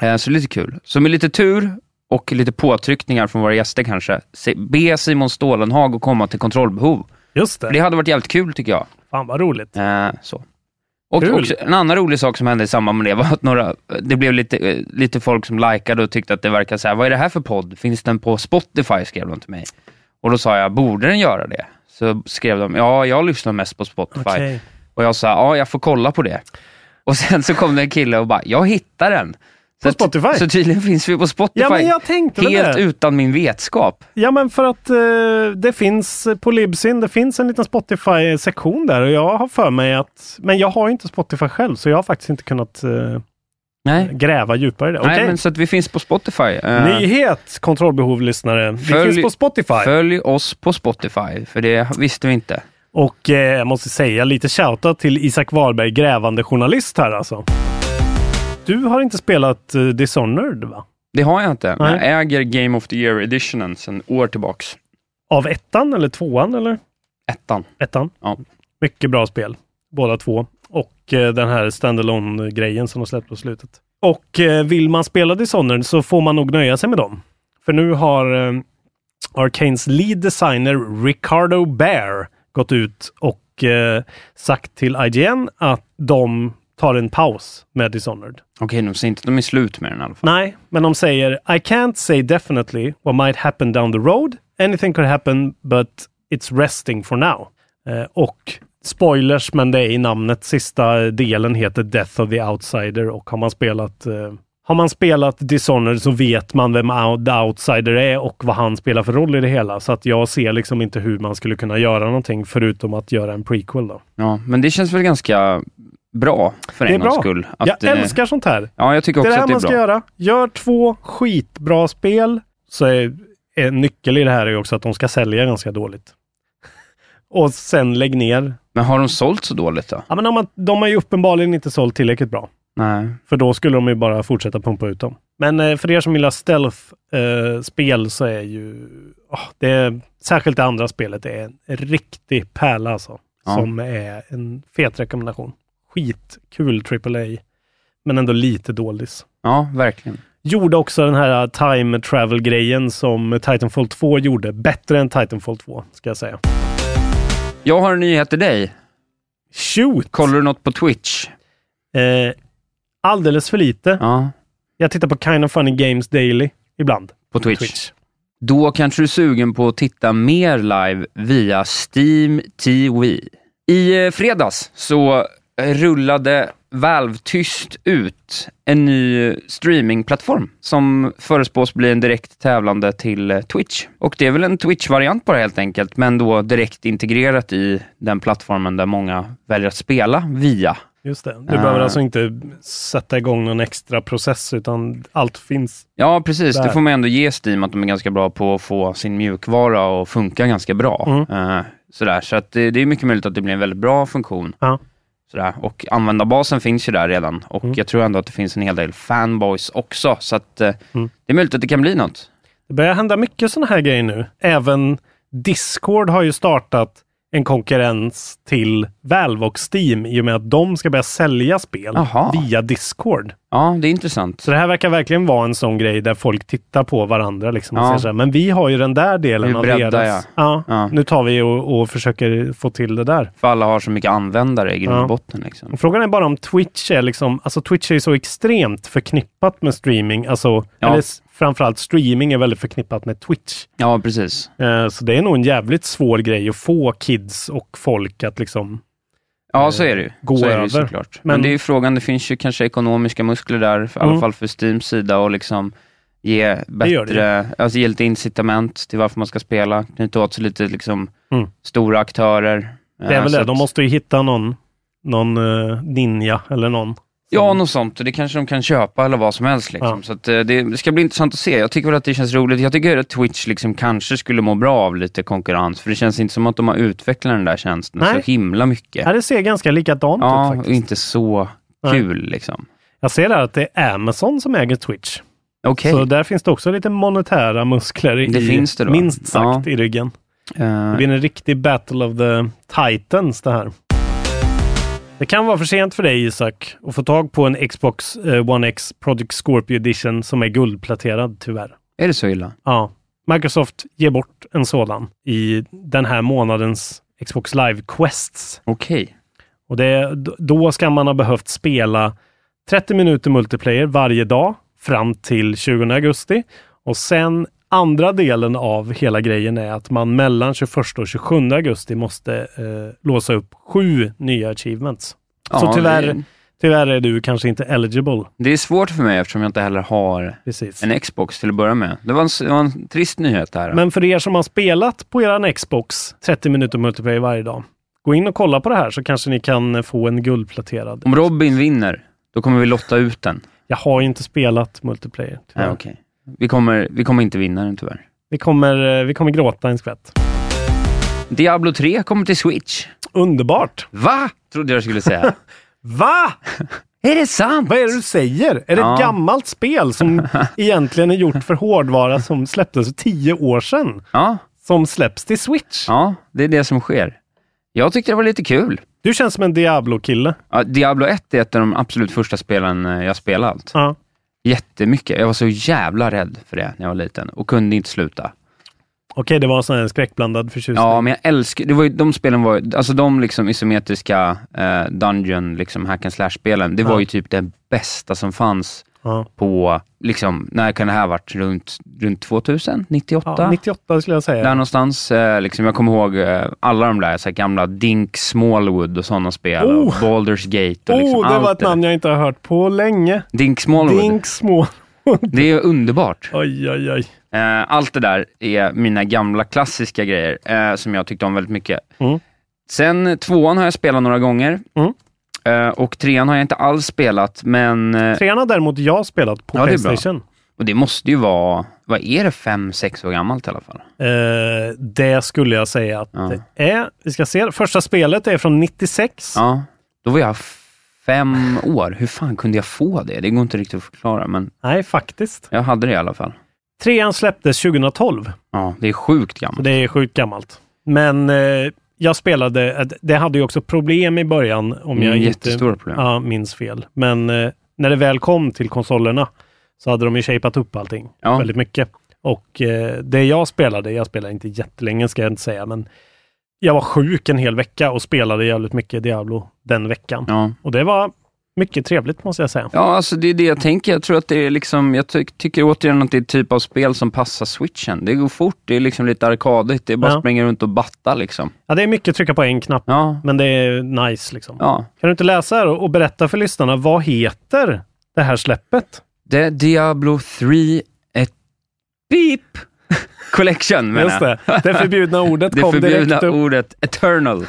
S3: Eh, Så det är lite kul. Så med lite tur och lite påtryckningar från våra gäster kanske, se- be Simon Stålenhag att komma till kontrollbehov.
S2: just det.
S3: Det hade varit jävligt kul tycker jag.
S2: Fan vad roligt.
S3: Eh, Så. Och
S2: Kul.
S3: också, en annan rolig sak som hände i samband med det var att några, det blev lite, eh, lite folk som likade och tyckte att det verkade så här, vad är det här för podd? Finns den på Spotify? skrev de till mig. Och då sa jag, borde den göra det? Så skrev de, ja, jag lyssnar mest på Spotify.
S2: Okej.
S3: Och jag sa, ja, jag får kolla på det. Och sen så kom det en kille och bara, jag hittar den.
S2: På
S3: Så ty-
S2: Spotify?
S3: Så tydligen finns vi på Spotify.
S2: Ja, men jag tänkte väl
S3: Helt
S2: det.
S3: utan min vetskap.
S2: Ja, men för att eh, det finns eh, på Libsyn, det finns en liten Spotify-sektion där och jag har för mig att, men jag har ju inte Spotify själv så jag har faktiskt inte kunnat eh,
S3: Nej,
S2: gräva djupare i det. Okej.
S3: Nej men så att vi finns på Spotify. Eh,
S2: Nyhet, kontrollbehov lyssnare. Vi
S3: Följ-
S2: finns på Spotify.
S3: Följ oss på Spotify, för det visste vi inte.
S2: Och eh, jag måste säga lite shoutout till Isak Wahlberg, grävande journalist här alltså. Du har inte spelat eh, Dishonored va?
S3: Det har jag inte.
S2: Nej.
S3: Men jag äger Game of the Year editionen sedan år tillbaks.
S2: Av ettan eller tvåan eller?
S3: Ettan.
S2: Ettan.
S3: Ja.
S2: Mycket bra spel, båda två. Och eh, den här standalone grejen som de släppte på slutet. Och eh, vill man spela Dishonored så får man nog nöja sig med dem. För nu har eh, Arcanes lead designer Ricardo Bear gått ut och eh, sagt till IGN att de tar en paus med Dishonored.
S3: Okej, de säger inte att de är slut med den i alla fall.
S2: Nej, men de säger I can't say definitely what might happen down the road. Anything could happen but it's resting for now. Eh, och spoilers, men det är i namnet. Sista delen heter Death of the Outsider och har man spelat eh, har man spelat Dishonored så vet man vem Out- The Outsider är och vad han spelar för roll i det hela. Så att jag ser liksom inte hur man skulle kunna göra någonting förutom att göra en prequel. Då.
S3: Ja, men det känns väl ganska bra för
S2: Det är
S3: en gångs
S2: bra.
S3: skull.
S2: Jag
S3: eh,
S2: älskar sånt här.
S3: Ja, jag tycker
S2: Det
S3: också
S2: är det här
S3: att det
S2: man
S3: är
S2: ska
S3: bra.
S2: göra. Gör två skitbra spel. Så är, en nyckel i det här är ju också att de ska sälja ganska dåligt. Och sen lägg ner.
S3: Men har de sålt så dåligt då?
S2: Ja, men de, har, de har ju uppenbarligen inte sålt tillräckligt bra.
S3: Nej.
S2: För då skulle de ju bara fortsätta pumpa ut dem. Men eh, för er som gillar stealth-spel så är ju... åh, det är, särskilt det andra spelet är en riktig pärla alltså.
S3: Ja.
S2: Som är en fet rekommendation. Skitkul AAA. Men ändå lite dålis
S3: Ja, verkligen.
S2: gjorde också den här eh, time travel-grejen som Titanfall 2 gjorde. Bättre än Titanfall 2, ska jag säga.
S3: Jag har en nyhet till dig.
S2: Shoot!
S3: Kollar du något på Twitch?
S2: Eh, alldeles för lite.
S3: Ja,
S2: Jag tittar på Kind of Funny Games Daily ibland.
S3: på Twitch.
S2: Twitch.
S3: Då kanske du är sugen på att titta mer live via Steam TV. I eh, fredags så rullade Valve tyst ut en ny streamingplattform som förespås bli en direkt tävlande till eh, Twitch. Och det är väl en Twitch-variant på det helt enkelt, men då direkt integrerat i den plattformen där många väljer att spela via.
S2: Just det. Du
S3: Ah.
S2: behöver alltså inte sätta igång någon extra process utan allt finns.
S3: Ja, precis.
S2: Där.
S3: Det får man ändå ge Steam att de är ganska bra på att få sin mjukvara att funka ganska bra.
S2: Mm.
S3: Eh, sådär. Så att det, det är mycket möjligt att det blir en väldigt bra funktion.
S2: Ja. Mm.
S3: Sådär. Och användarbasen finns ju där redan. Och jag tror ändå att det finns en hel del fanboys också. Så att, eh,
S2: Mm.
S3: det är möjligt att det kan bli något.
S2: Det börjar hända mycket sådana här grejer nu. Även Discord har ju startat en konkurrens till Valve och Steam i och med att de ska börja sälja spel
S3: Aha.
S2: via Discord.
S3: Ja, det är intressant.
S2: Så det här verkar verkligen vara en sån grej där folk tittar på varandra. Liksom och
S3: Ja.
S2: säger så här, men vi har ju den där delen
S3: Vi
S2: av
S3: breddar,
S2: deras.
S3: Ja.
S2: Nu tar vi och, och försöker få till det där.
S3: För alla har så mycket användare i grund och
S2: Ja.
S3: botten. Liksom.
S2: Och frågan är bara om Twitch är liksom, alltså Twitch är ju så extremt förknippat med streaming, alltså,
S3: Ja.
S2: eller s- framförallt streaming är väldigt förknippat med Twitch.
S3: Ja, precis.
S2: Eh, så det är nog en jävligt svår grej att få kids och folk att liksom,
S3: Ja, så är det ju.
S2: gå
S3: så är det
S2: över.
S3: ju såklart. Men,
S2: Men-
S3: det är ju frågan, det finns ju kanske ekonomiska muskler där, för, i alla
S2: Mm.
S3: fall för Steams sida, och liksom ge
S2: gör det ju.
S3: bättre, alltså ge lite incitament till varför man ska spela, knyta åt sig lite liksom
S2: Mm.
S3: stora aktörer. Eh,
S2: det är väl det, de måste ju hitta någon, någon eh, ninja eller någon.
S3: Ja, något sånt. Och det kanske de kan köpa eller vad som helst. Liksom.
S2: Ja.
S3: Så att, eh, det, det ska bli intressant att se. Jag tycker väl att det känns roligt. Jag tycker att Twitch liksom kanske skulle må bra av lite konkurrens, för det känns inte som att de har utvecklat den där tjänsten
S2: Nej.
S3: så himla mycket.
S2: Ja, det ser ganska likadant ut
S3: ja, och
S2: faktiskt.
S3: inte så
S2: Nej.
S3: kul liksom.
S2: Jag ser där att det är Amazon som äger Twitch.
S3: Okej.
S2: Så där finns det också lite monetära muskler i,
S3: Det finns det då.
S2: minst sagt, i ryggen.
S3: Eh,
S2: Det blir en riktig battle of the titans det här. Det kan vara för sent för dig Isak att få tag på en Xbox eh, One X Project Scorpio Edition som är guldpläterad tyvärr.
S3: Är det så illa?
S2: Ja, Microsoft ger bort en sådan i den här månadens Xbox Live Quests.
S3: Okej.
S2: Och det, d- då ska man ha behövt spela 30 minuter multiplayer varje dag fram till 20 augusti. Och sen andra delen av hela grejen är att man mellan 21 och 27 augusti måste eh, låsa upp sju nya achievements.
S3: Ja,
S2: Så tyvärr,
S3: det-
S2: tyvärr är du kanske inte eligible.
S3: Det är svårt för mig eftersom jag inte heller har
S2: Precis.
S3: en Xbox till att börja med. Det var en, s- det var en trist nyhet det här.
S2: Men för er som har spelat på eran Xbox 30 minuter multiplayer varje dag, gå in och kolla på det här så kanske ni kan eh, få en guldpläterad.
S3: Om Robin vinner, då kommer vi lotta ut den.
S2: Jag har ju inte spelat multiplayer. tyvärr.
S3: Nej, okej. Vi, kommer, vi kommer inte vinna den tyvärr.
S2: Vi kommer, eh, vi kommer gråta en skvätt.
S3: Diablo 3 kommer till Switch.
S2: Underbart!
S3: Va? Trodde jag skulle säga.
S2: Va?
S3: är det sant?
S2: Vad är det du säger? Är det
S3: Ja.
S2: ett gammalt spel som egentligen är gjort för hårdvara som släpptes för tio år sedan?
S3: Ja,
S2: Som släpps till Switch?
S3: ja, det är det som sker. Jag tyckte det var lite kul.
S2: Du känns som en Diablo-kille.
S3: Ja, Diablo 1 är ett av de absolut första spelen eh, jag spelat.
S2: Ja.
S3: Jättemycket. Jag var så jävla rädd för det när jag var liten och kunde inte sluta.
S2: Okej, det var en sån här skräckblandad förtjusning.
S3: Ja, men jag älskar, det var ju, de spelen var ju- alltså de liksom isometriska eh, dungeon, liksom hack and slash-spelen, det var ju typ det bästa som fanns
S2: Ja.
S3: på, liksom, när kan det här ha varit? Runt, runt 2000? 98?
S2: Ja, 98 skulle jag säga.
S3: Där någonstans, eh, liksom, jag kommer ihåg eh, alla de där så här gamla Dink Smallwood och sådana spel, och
S2: Oh!
S3: Baldur's Gate och liksom
S2: oh, det
S3: allt
S2: var ett
S3: det där.
S2: namn jag inte har hört på länge.
S3: Dink Smallwood.
S2: Dink små.
S3: Det är underbart.
S2: Oj, oj, oj.
S3: Eh, allt det där är mina gamla klassiska grejer eh, som jag tyckte om väldigt mycket.
S2: Mm.
S3: Sen tvåan har jag spelat några gånger
S2: Mm.
S3: eh, och trean har jag inte alls spelat, men eh,
S2: Trean har däremot jag spelat på
S3: Ja, det är bra.
S2: Playstation.
S3: och det måste ju vara, vad är det, fem, sex år gammalt i alla fall?
S2: Eh, det skulle jag säga att
S3: Ja.
S2: det är. Vi ska se. Första spelet är från 96.
S3: Ja, då var jag fem år. Hur fan kunde jag få det? Det går inte riktigt att förklara, men
S2: Nej, faktiskt.
S3: jag hade det i alla fall.
S2: Trean släpptes 2012.
S3: Ja, det är sjukt
S2: Så
S3: gammalt.
S2: det är sjukt gammalt. Men eh, jag spelade, eh, det hade ju också problem i början om jag
S3: Mm,
S2: inte
S3: jättestora problem.
S2: ja, minns fel. Men eh, när det väl kom till konsolerna så hade de ju shapat upp allting
S3: Ja.
S2: väldigt mycket. Och eh, det jag spelade, jag spelade inte jättelänge ska jag inte säga, men jag var sjuk en hel vecka och spelade jävligt mycket Diablo den veckan.
S3: Ja,
S2: Och det var
S4: Mycket trevligt måste jag säga.
S2: Ja, alltså det är det jag tänker. Jag tror att det är liksom, jag ty- tycker återigen att det är typ av spel som passar switchen. Det går fort, det är liksom lite arkadigt, det är bara
S4: Ja.
S2: springa runt och batta liksom.
S4: Ja, det är mycket trycka på en knapp,
S2: Ja,
S4: men det är nice liksom.
S2: ja.
S4: Kan du inte läsa här och och berätta för lyssnarna, vad heter det här släppet?
S2: Det är Diablo 3, ett beep collection menar
S4: Just
S2: jag.
S4: det, det förbjudna ordet
S2: Det
S4: kom
S2: förbjudna
S4: direkt upp.
S2: ordet eternal.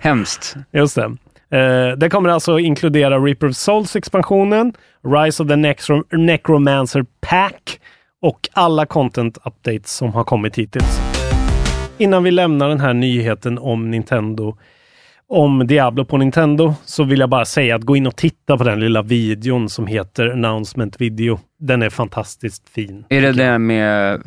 S2: Hemskt.
S4: Just det. Eh, det kommer alltså inkludera Reaper of Souls-expansionen, Rise of the Necro- Necromancer Pack och alla content updates som har kommit hittills. Innan vi lämnar den här nyheten om Nintendo, om Diablo på Nintendo, så vill jag bara säga att gå in och titta på den lilla videon som heter Announcement Video. Den är fantastiskt fin.
S2: Är det det med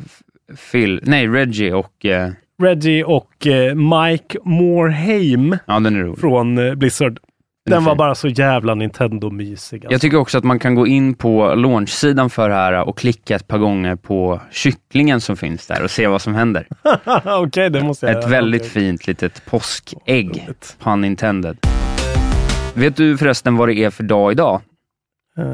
S2: Phil, nej Reggie och, eh,
S4: Reggie och eh, Mike Moorheim
S2: ja den är rolig.
S4: från eh, Blizzard.
S2: Den är
S4: Den var
S2: fin.
S4: bara så jävla Nintendo-mysig. Alltså.
S2: Jag tycker också att man kan gå in på launchsidan för det här och klicka ett par gånger på kycklingen som finns där och se vad som händer.
S4: Okej, det måste jag
S2: Ett
S4: göra.
S2: väldigt
S4: Okej.
S2: fint litet påskägg,
S4: Roligt.
S2: pun intended. Vet du förresten vad det är för dag idag?
S4: Eh,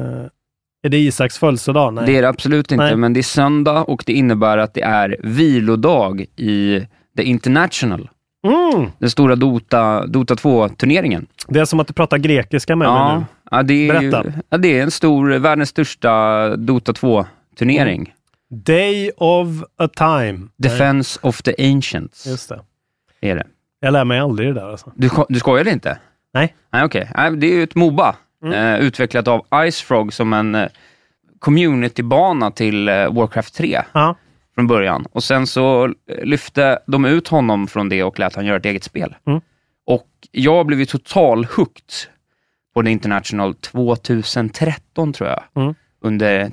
S4: är det Isaks födelsedag? Nej.
S2: Det är det absolut inte,
S4: Nej.
S2: men det är söndag och det innebär att det är vilodag i The International,
S4: Mm,
S2: den stora Dota, Dota 2-turneringen.
S4: det är som att du pratar grekiska med mig
S2: Ja,
S4: nu.
S2: ja, det är, ju,
S4: Berätta.
S2: ja, det är en stor, världens största Dota 2-turnering.
S4: Day of a time. Nej,
S2: Defense of the Ancients
S4: just det.
S2: är det.
S4: Jag lär mig aldrig det där alltså.
S2: Du, sko- du skojade inte?
S4: Nej. Mm.
S2: Nej, okej. Nej, Det är ju ett Moba, eh, utvecklat av Icefrog som en eh, communitybana till eh, Warcraft 3
S4: Ja,
S2: från början. Och sen så eh, lyfte de ut honom från det och lät han göra ett eget spel.
S4: Mm.
S2: Och jag blev ju total hooked på The International 2013 tror jag,
S4: Mm.
S2: under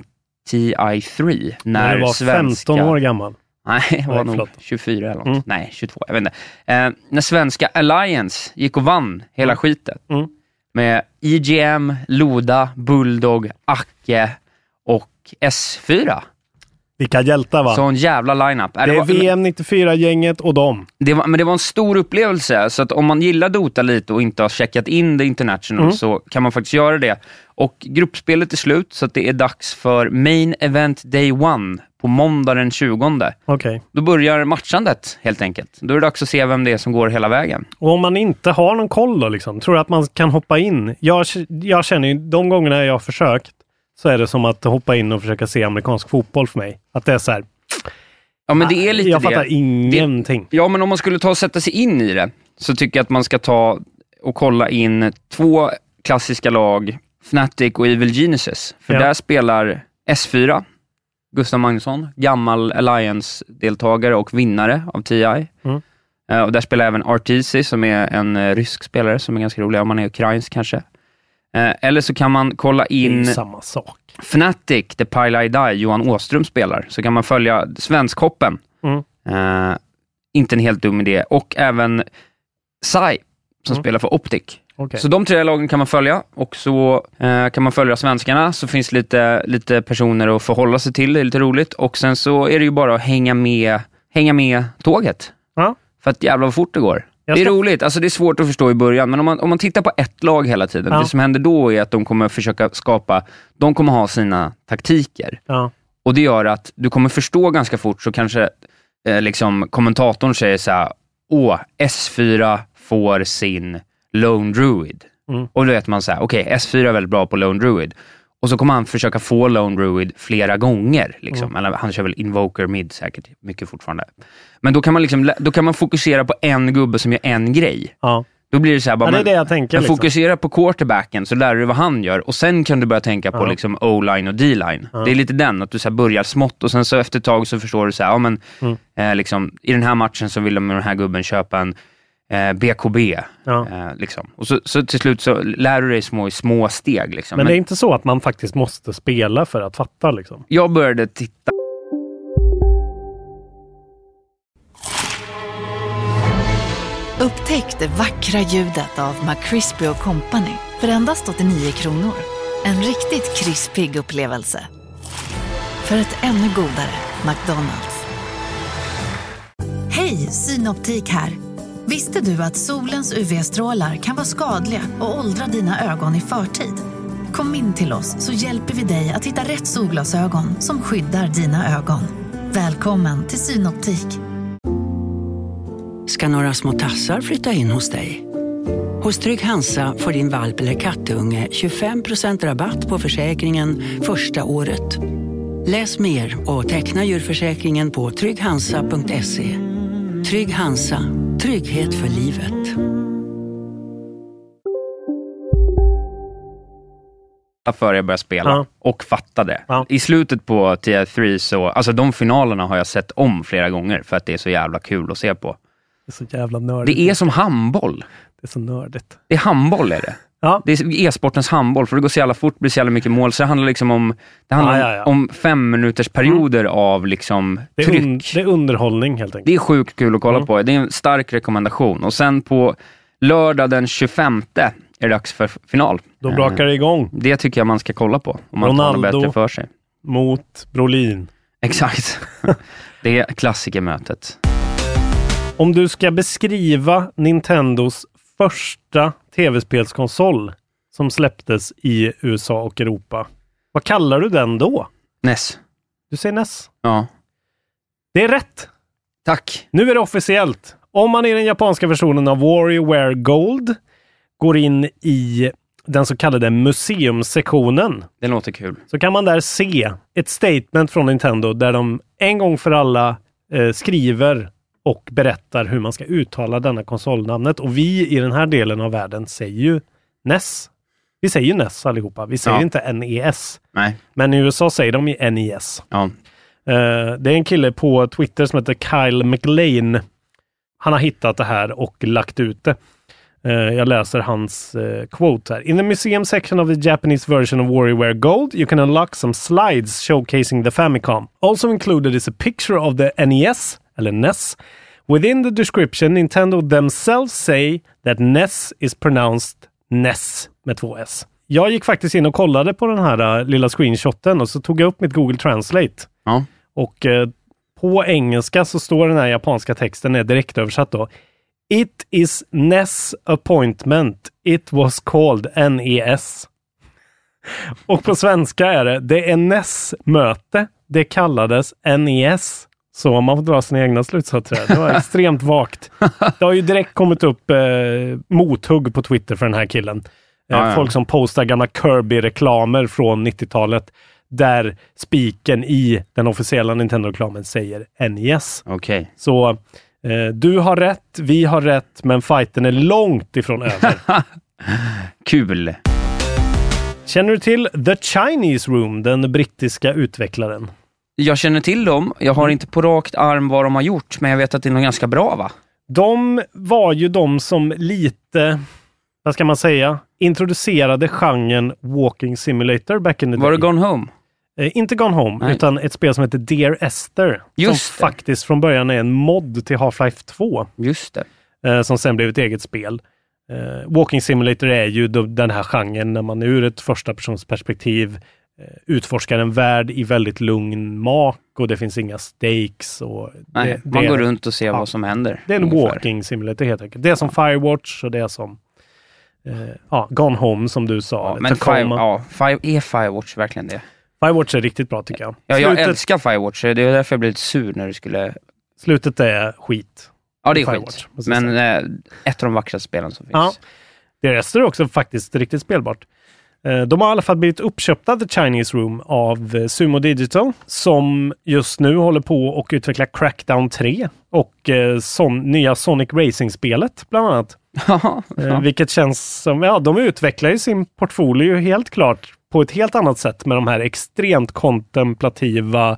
S2: TI3. När
S4: när du var
S2: svenska...
S4: 15 år gammal.
S2: Nej, jag var
S4: Nej,
S2: nog
S4: förlåt.
S2: 24 eller något.
S4: Mm.
S2: Nej, 22. Jag vet inte. Eh, när svenska Alliance gick och vann hela skiten.
S4: Mm.
S2: Med IGM, Loda, Bulldog, Acke och S4.
S4: Vilka hjältar va?
S2: Sån jävla lineup. Äh,
S4: det är
S2: var-
S4: VM 94-gänget och dem.
S2: det var, men det var en stor upplevelse, så att om man gillar Dota lite och inte har checkat in The International
S4: Mm.
S2: så kan man faktiskt göra det. Och gruppspelet är slut, så att det är dags för Main Event Day 1 på måndag den 20.
S4: Okej.
S2: Då börjar matchandet helt enkelt. Då är det dags att se vem det är som går hela vägen.
S4: Och om man inte har någon koll då, liksom, tror du att man kan hoppa in? Jag, jag känner ju, de gångerna jag har försökt, så är det som att hoppa in och försöka se amerikansk fotboll för mig. Att det är så här,
S2: Ja, men det är lite
S4: jag
S2: det.
S4: fattar ingenting.
S2: Ja, men om man skulle ta och sätta sig in i det, så tycker jag att man ska ta och kolla in två klassiska lag, Fnatic och Evil Geniuses. För
S4: Ja.
S2: där spelar S4, Gustav Magnusson, gammal Alliance-deltagare och vinnare av TI.
S4: Mm.
S2: Eh, och där spelar även Artisi, som är en eh, rysk spelare, som är ganska rolig, om man är ukrainsk kanske. Eh, eller så kan man kolla
S4: Det är ju
S2: in...
S4: samma sak.
S2: Fnatic, The Pile I Die, Johan Åström spelar, så kan man följa Svenskhoppen.
S4: Mm.
S2: Eh, inte en helt dum idé. Och även Sai, som spelar för Optic.
S4: Mm. Okej.
S2: Så de tre lagen kan man följa och så eh, kan man följa svenskarna, så finns lite, lite personer att förhålla sig till, det är lite roligt. Och sen så är det ju bara att hänga med, hänga med tåget.
S4: Ja.
S2: För att jävlar vad fort det går.
S4: Jag
S2: Det är
S4: ska-
S2: roligt, alltså det är svårt att förstå i början, men om man, om man tittar på ett lag hela tiden,
S4: Ja.
S2: det som händer då är att de kommer försöka skapa, de kommer ha sina taktiker.
S4: Ja.
S2: Och det gör att du kommer förstå ganska fort, så kanske eh, liksom, kommentatorn säger så här, åh, S4 får sin Lone Druid.
S4: Mm.
S2: Och då vet man så här, okej, S4 är väldigt bra på Lone Druid. Och så kommer han försöka få Lone Druid flera gånger. Liksom.
S4: Mm.
S2: Eller, han kör väl Invoker mid säkert, mycket fortfarande. Men då kan, man liksom, lä- då kan man fokusera på en gubbe som gör en grej.
S4: Ja.
S2: Då blir det så här, bara,
S4: ja, det är
S2: men-
S4: det jag tänker.
S2: men
S4: Liksom.
S2: fokusera på quarterbacken så lär du dig vad han gör och sen kan du börja tänka på liksom o-line och d-line. Det är lite den, att du så här börjar smått och sen så efter ett tag så förstår du så här, ja, men,
S4: Mm.
S2: eh, liksom, i den här matchen så vill de med den här gubben köpa en eh, BKB.
S4: Ja.
S2: Eh, liksom. och så, så till slut så lär du dig små, i små steg. Liksom.
S4: Men
S2: Men
S4: det är inte så att man faktiskt måste spela för att fatta liksom.
S2: Jag började titta
S5: Upptäck det vackra ljudet av McCrispy Company för endast 89 kronor. En riktigt krispig upplevelse. För ett ännu godare McDonalds. Hej, Synoptik här. Visste du att solens UV-strålar kan vara skadliga och åldra dina ögon i förtid? Kom in till oss så hjälper vi dig att hitta rätt solglasögon som skyddar dina ögon. Välkommen till Synoptik.
S6: ska några små tassar flytta in hos dig. Hos Trygg Hansa får din valp eller kattunge 25% rabatt på försäkringen första året. Läs mer och teckna djurförsäkringen på trygghansa.se. Trygg Hansa, trygghet för livet.
S3: för jag började spela
S2: Ja.
S3: och fattade.
S2: Ja.
S3: I slutet på TF3 så, alltså de finalerna har jag sett om flera gånger för att det är så jävla kul att se på.
S2: Det är så jävla nördigt.
S3: Det är som handboll.
S2: Det är så nördigt.
S3: Det är handboll är det.
S2: Ja.
S3: Det är e-sportens handboll, för det går så jävla fort, det blir så jävla mycket mål, så det handlar liksom om, det handlar
S2: Ja, ja, ja.
S3: om fem minuters perioder av liksom
S2: Det är,
S3: tryck.
S2: un, det är underhållning helt enkelt. Mm.
S3: Det är sjukt kul att kolla på. Det är en stark rekommendation. Och sen på lördag den 25 är det dags för final. Eh,
S2: Då brakar det igång
S3: Det tycker jag man ska kolla på, om man Ronaldo. tar
S2: Ronaldo.
S3: något bättre för sig.
S2: mot Brolin.
S3: Exakt. det är klassikermötet.
S2: Om du ska beskriva Nintendos första tv-spelskonsol som släpptes i USA och Europa. Vad kallar du den då?
S3: Ness.
S2: Du säger NES.
S3: E Ja.
S2: Det är rätt!
S3: Tack.
S2: Nu är det officiellt. Om man i den japanska versionen av WarioWare Gold går in i den så kallade museumsektionen
S3: Det låter kul.
S2: så kan man där se ett statement från Nintendo där de en gång för alla eh, skriver och berättar hur man ska uttala denna konsolnamnet. Och vi i den här delen av världen säger ju NES. Vi säger ju NES allihopa. Vi säger
S3: Ja.
S2: inte NES.
S3: Nej.
S2: Men i USA säger de ju NES.
S3: Ja.
S2: Eh, det är en kille på Twitter som heter Kyle McLean. Han har hittat det här och lagt ut det. Eh, jag läser hans eh, quote här. In the museum section of the Japanese version of WarioWare Gold you can unlock some slides showcasing the Famicom. Also included is a picture of the NES, eller NES. Within the description Nintendo themselves say that NES is pronounced NES med två S. Jag gick faktiskt in och kollade på den här eh, lilla screenshoten och så tog jag upp mitt Google Translate.
S3: Ja.
S2: Och eh, på engelska så står den här japanska texten, är direktöversatt då. It is NES appointment. It was called E NES. Och på svenska är det, det är NES-möte. Det kallades NES. Så om man får dra sina egna slutsatser. här. Det var extremt vagt. Det har ju direkt kommit upp eh, mothugg på Twitter för den här killen. Eh,
S3: Ja, ja.
S2: Folk som postar gamla Kirby-reklamer från 90-talet där spiken i den officiella Nintendo-reklamen säger NES.
S3: Okej.
S2: Så eh, du har rätt, vi har rätt, men fighten är långt ifrån över.
S3: Kul.
S2: Känner du till The Chinese Room, den brittiska utvecklaren? Mm.
S3: Jag känner till dem. Jag har inte på rakt arm vad de har gjort, men jag vet att det är något ganska bra va?
S2: De var ju de som lite, vad ska man säga, introducerade genren Walking Simulator back in the
S3: Var
S2: day.
S3: det Gone Home?
S2: eh, inte Gone Home,
S3: Nej.
S2: utan ett spel som heter Dear Esther.
S3: Just
S2: som
S3: det.
S2: faktiskt från början är en mod till Half-Life 2.
S3: Just det.
S2: eh, som sen blev ett eget spel. Eh, Walking Simulator är ju då den här genren när man ur ett första persons perspektiv eh, utforskar en värld i väldigt lugn mak och det finns inga stakes. Och
S3: Nej,
S2: det,
S3: man
S2: det,
S3: går runt och ser
S2: ja.
S3: vad som händer.
S2: Det är en
S3: ungefär.
S2: Walking Simulator helt enkelt. Det är som Firewatch och det är som eh, ja, Gone Home som du sa.
S3: Ja,
S2: eller
S3: men
S2: Tacoma.
S3: Five, ja, five, är Firewatch verkligen det?
S2: Firewatch är riktigt bra tycker jag.
S3: Ja, jag
S2: slutet,
S3: älskar Firewatch, det är därför jag blev lite sur när du skulle...
S2: slutet är skit.
S3: Ja, det är
S2: Firewatch,
S3: skit.
S2: måste jag
S3: Men eh, ett av de vackraste spelen som finns.
S2: Ja. Det resten är också faktiskt riktigt spelbart. Eh, De har i alla fall blivit uppköpta, The Chinese Room, av eh, Sumo Digital som just nu håller på och utvecklar Crackdown 3 och eh, son nya Sonic Racing-spelet bland annat.
S3: Ja,
S2: Eh, Vilket känns som, ja, de utvecklar ju sin portfolio helt klart på ett helt annat sätt med de här extremt kontemplativa,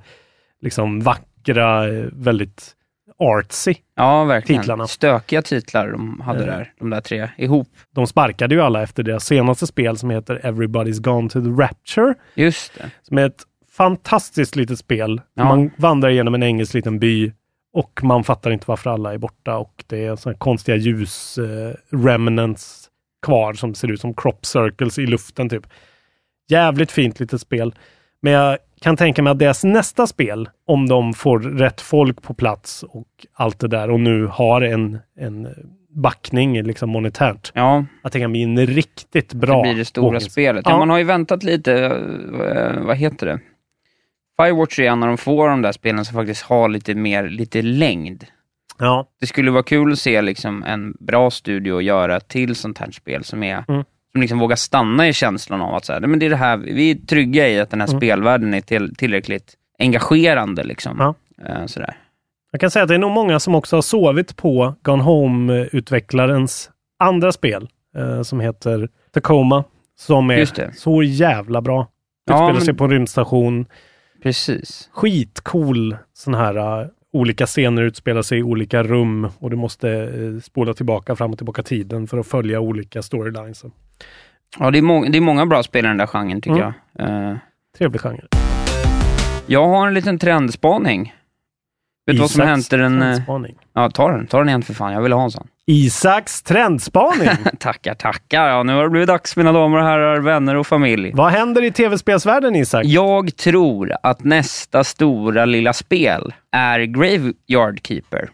S2: liksom vackra, eh, väldigt artsy.
S3: ja, verkligen.
S2: Titlarna. Eh.
S3: Stökiga titlar de hade där, de där tre ihop.
S2: De sparkade ju alla efter deras senaste spel som heter Everybody's Gone to the Rapture.
S3: Just det.
S2: som är ett fantastiskt litet spel.
S3: Ja.
S2: Man vandrar genom en engelsk liten by och man fattar inte varför alla är borta och det är sådana konstiga ljus eh, remnants kvar som ser ut som crop circles i luften typ. Jävligt fint litet spel. Men jag kan tänka mig att deras nästa spel, om de får rätt folk på plats och allt det där och nu har en, en backning liksom monetärt.
S3: Ja.
S2: Att det kan bli en riktigt bra...
S3: Det blir det stora
S2: vågens-
S3: spelet. Ja.
S2: Ja.
S3: man har ju väntat lite, eh, vad heter det? Firewatch är en av de få av de där spelen som faktiskt har lite mer, lite längd.
S2: Ja,
S3: Det skulle vara kul att se liksom en bra studio göra till sånt här spel som är
S2: Mm.
S3: som liksom vågar stanna i känslan av att så här, "Nej, men det är det här, vi är trygga i att den här
S2: Mm.
S3: spelvärlden är till, tillräckligt engagerande. Liksom.
S2: Ja.
S3: Eh, sådär.
S2: jag kan säga att det är nog många som också har sovit på Gone Home-utvecklarens andra spel eh, som heter Tacoma. Som
S3: Just det.
S2: är så jävla bra.
S3: Ja,
S2: Utspelar
S3: men-
S2: sig på en rymdstation.
S3: Precis.
S2: skitcool sån här eh, olika scener utspelar sig i olika rum och du måste eh, spola tillbaka fram och tillbaka tiden för att följa olika storylines.
S3: Ja, det, är må- det är många bra spel i den där genren tycker
S2: Mm.
S3: jag. Eh,
S2: Trevlig genre.
S3: jag har en liten trendspaning. Vet du vad som
S2: Isaks
S3: hände den... eh,
S2: trendspaning.
S3: Ja, ta den. Ta den igen för fan. Jag ville ha en sån.
S2: Isaks trendspaning.
S3: Tackar, tackar. Ja, nu har det blivit dags mina damer och herrar, vänner och familj.
S2: Vad händer i tv-spelsvärlden Isak?
S3: Jag tror att nästa stora lilla spel är Graveyard Keeper,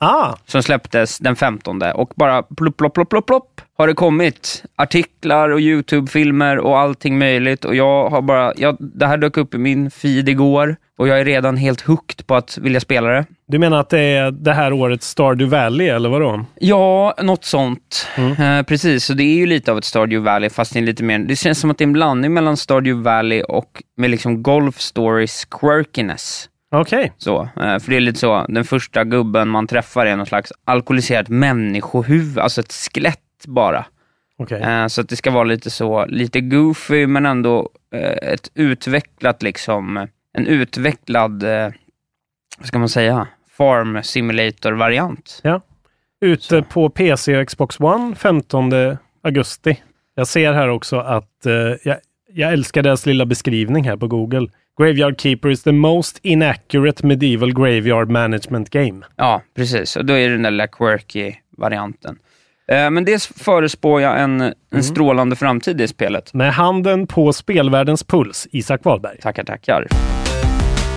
S2: Ah,
S3: som släpptes den 15 och bara plopp, plopp, plopp, plopp, plopp har det kommit artiklar och YouTube-filmer och allting möjligt och jag har bara, jag, det här dök upp i min feed igår och jag är redan helt hooked på att vilja spela det.
S2: du menar att det är det här årets Stardew Valley eller vadå? Mm.
S3: Ja, något sånt. Eh, precis, så det är ju lite av ett Stardew Valley, fast det är lite mer... Det känns som att det är en blandning mellan Stardew Valley och med liksom Golf Stories quirkiness.
S2: Okej,
S3: Så, eh, för det är lite så, den första gubben man träffar är någon slags alkoholiserat människohuvud, alltså ett skelett bara.
S2: okej.
S3: Eh, Så att det ska vara lite så, lite goofy men ändå eh, ett utvecklat liksom, en utvecklad, eh, vad ska man säga, farm simulator-variant.
S2: Ute
S3: Så.
S2: på PC och Xbox One 15 augusti. Jag ser här också att eh, jag, jag älskar deras lilla beskrivning här på Google. Graveyard Keeper is the most inaccurate medieval graveyard management game.
S3: Ja, precis. Och då är det den där lilla quirky varianten. Eh, Men dels förespår jag en, en strålande framtid i spelet.
S2: Mm. Med handen på spelvärldens puls, Isak Wahlberg.
S3: Tackar, tackar.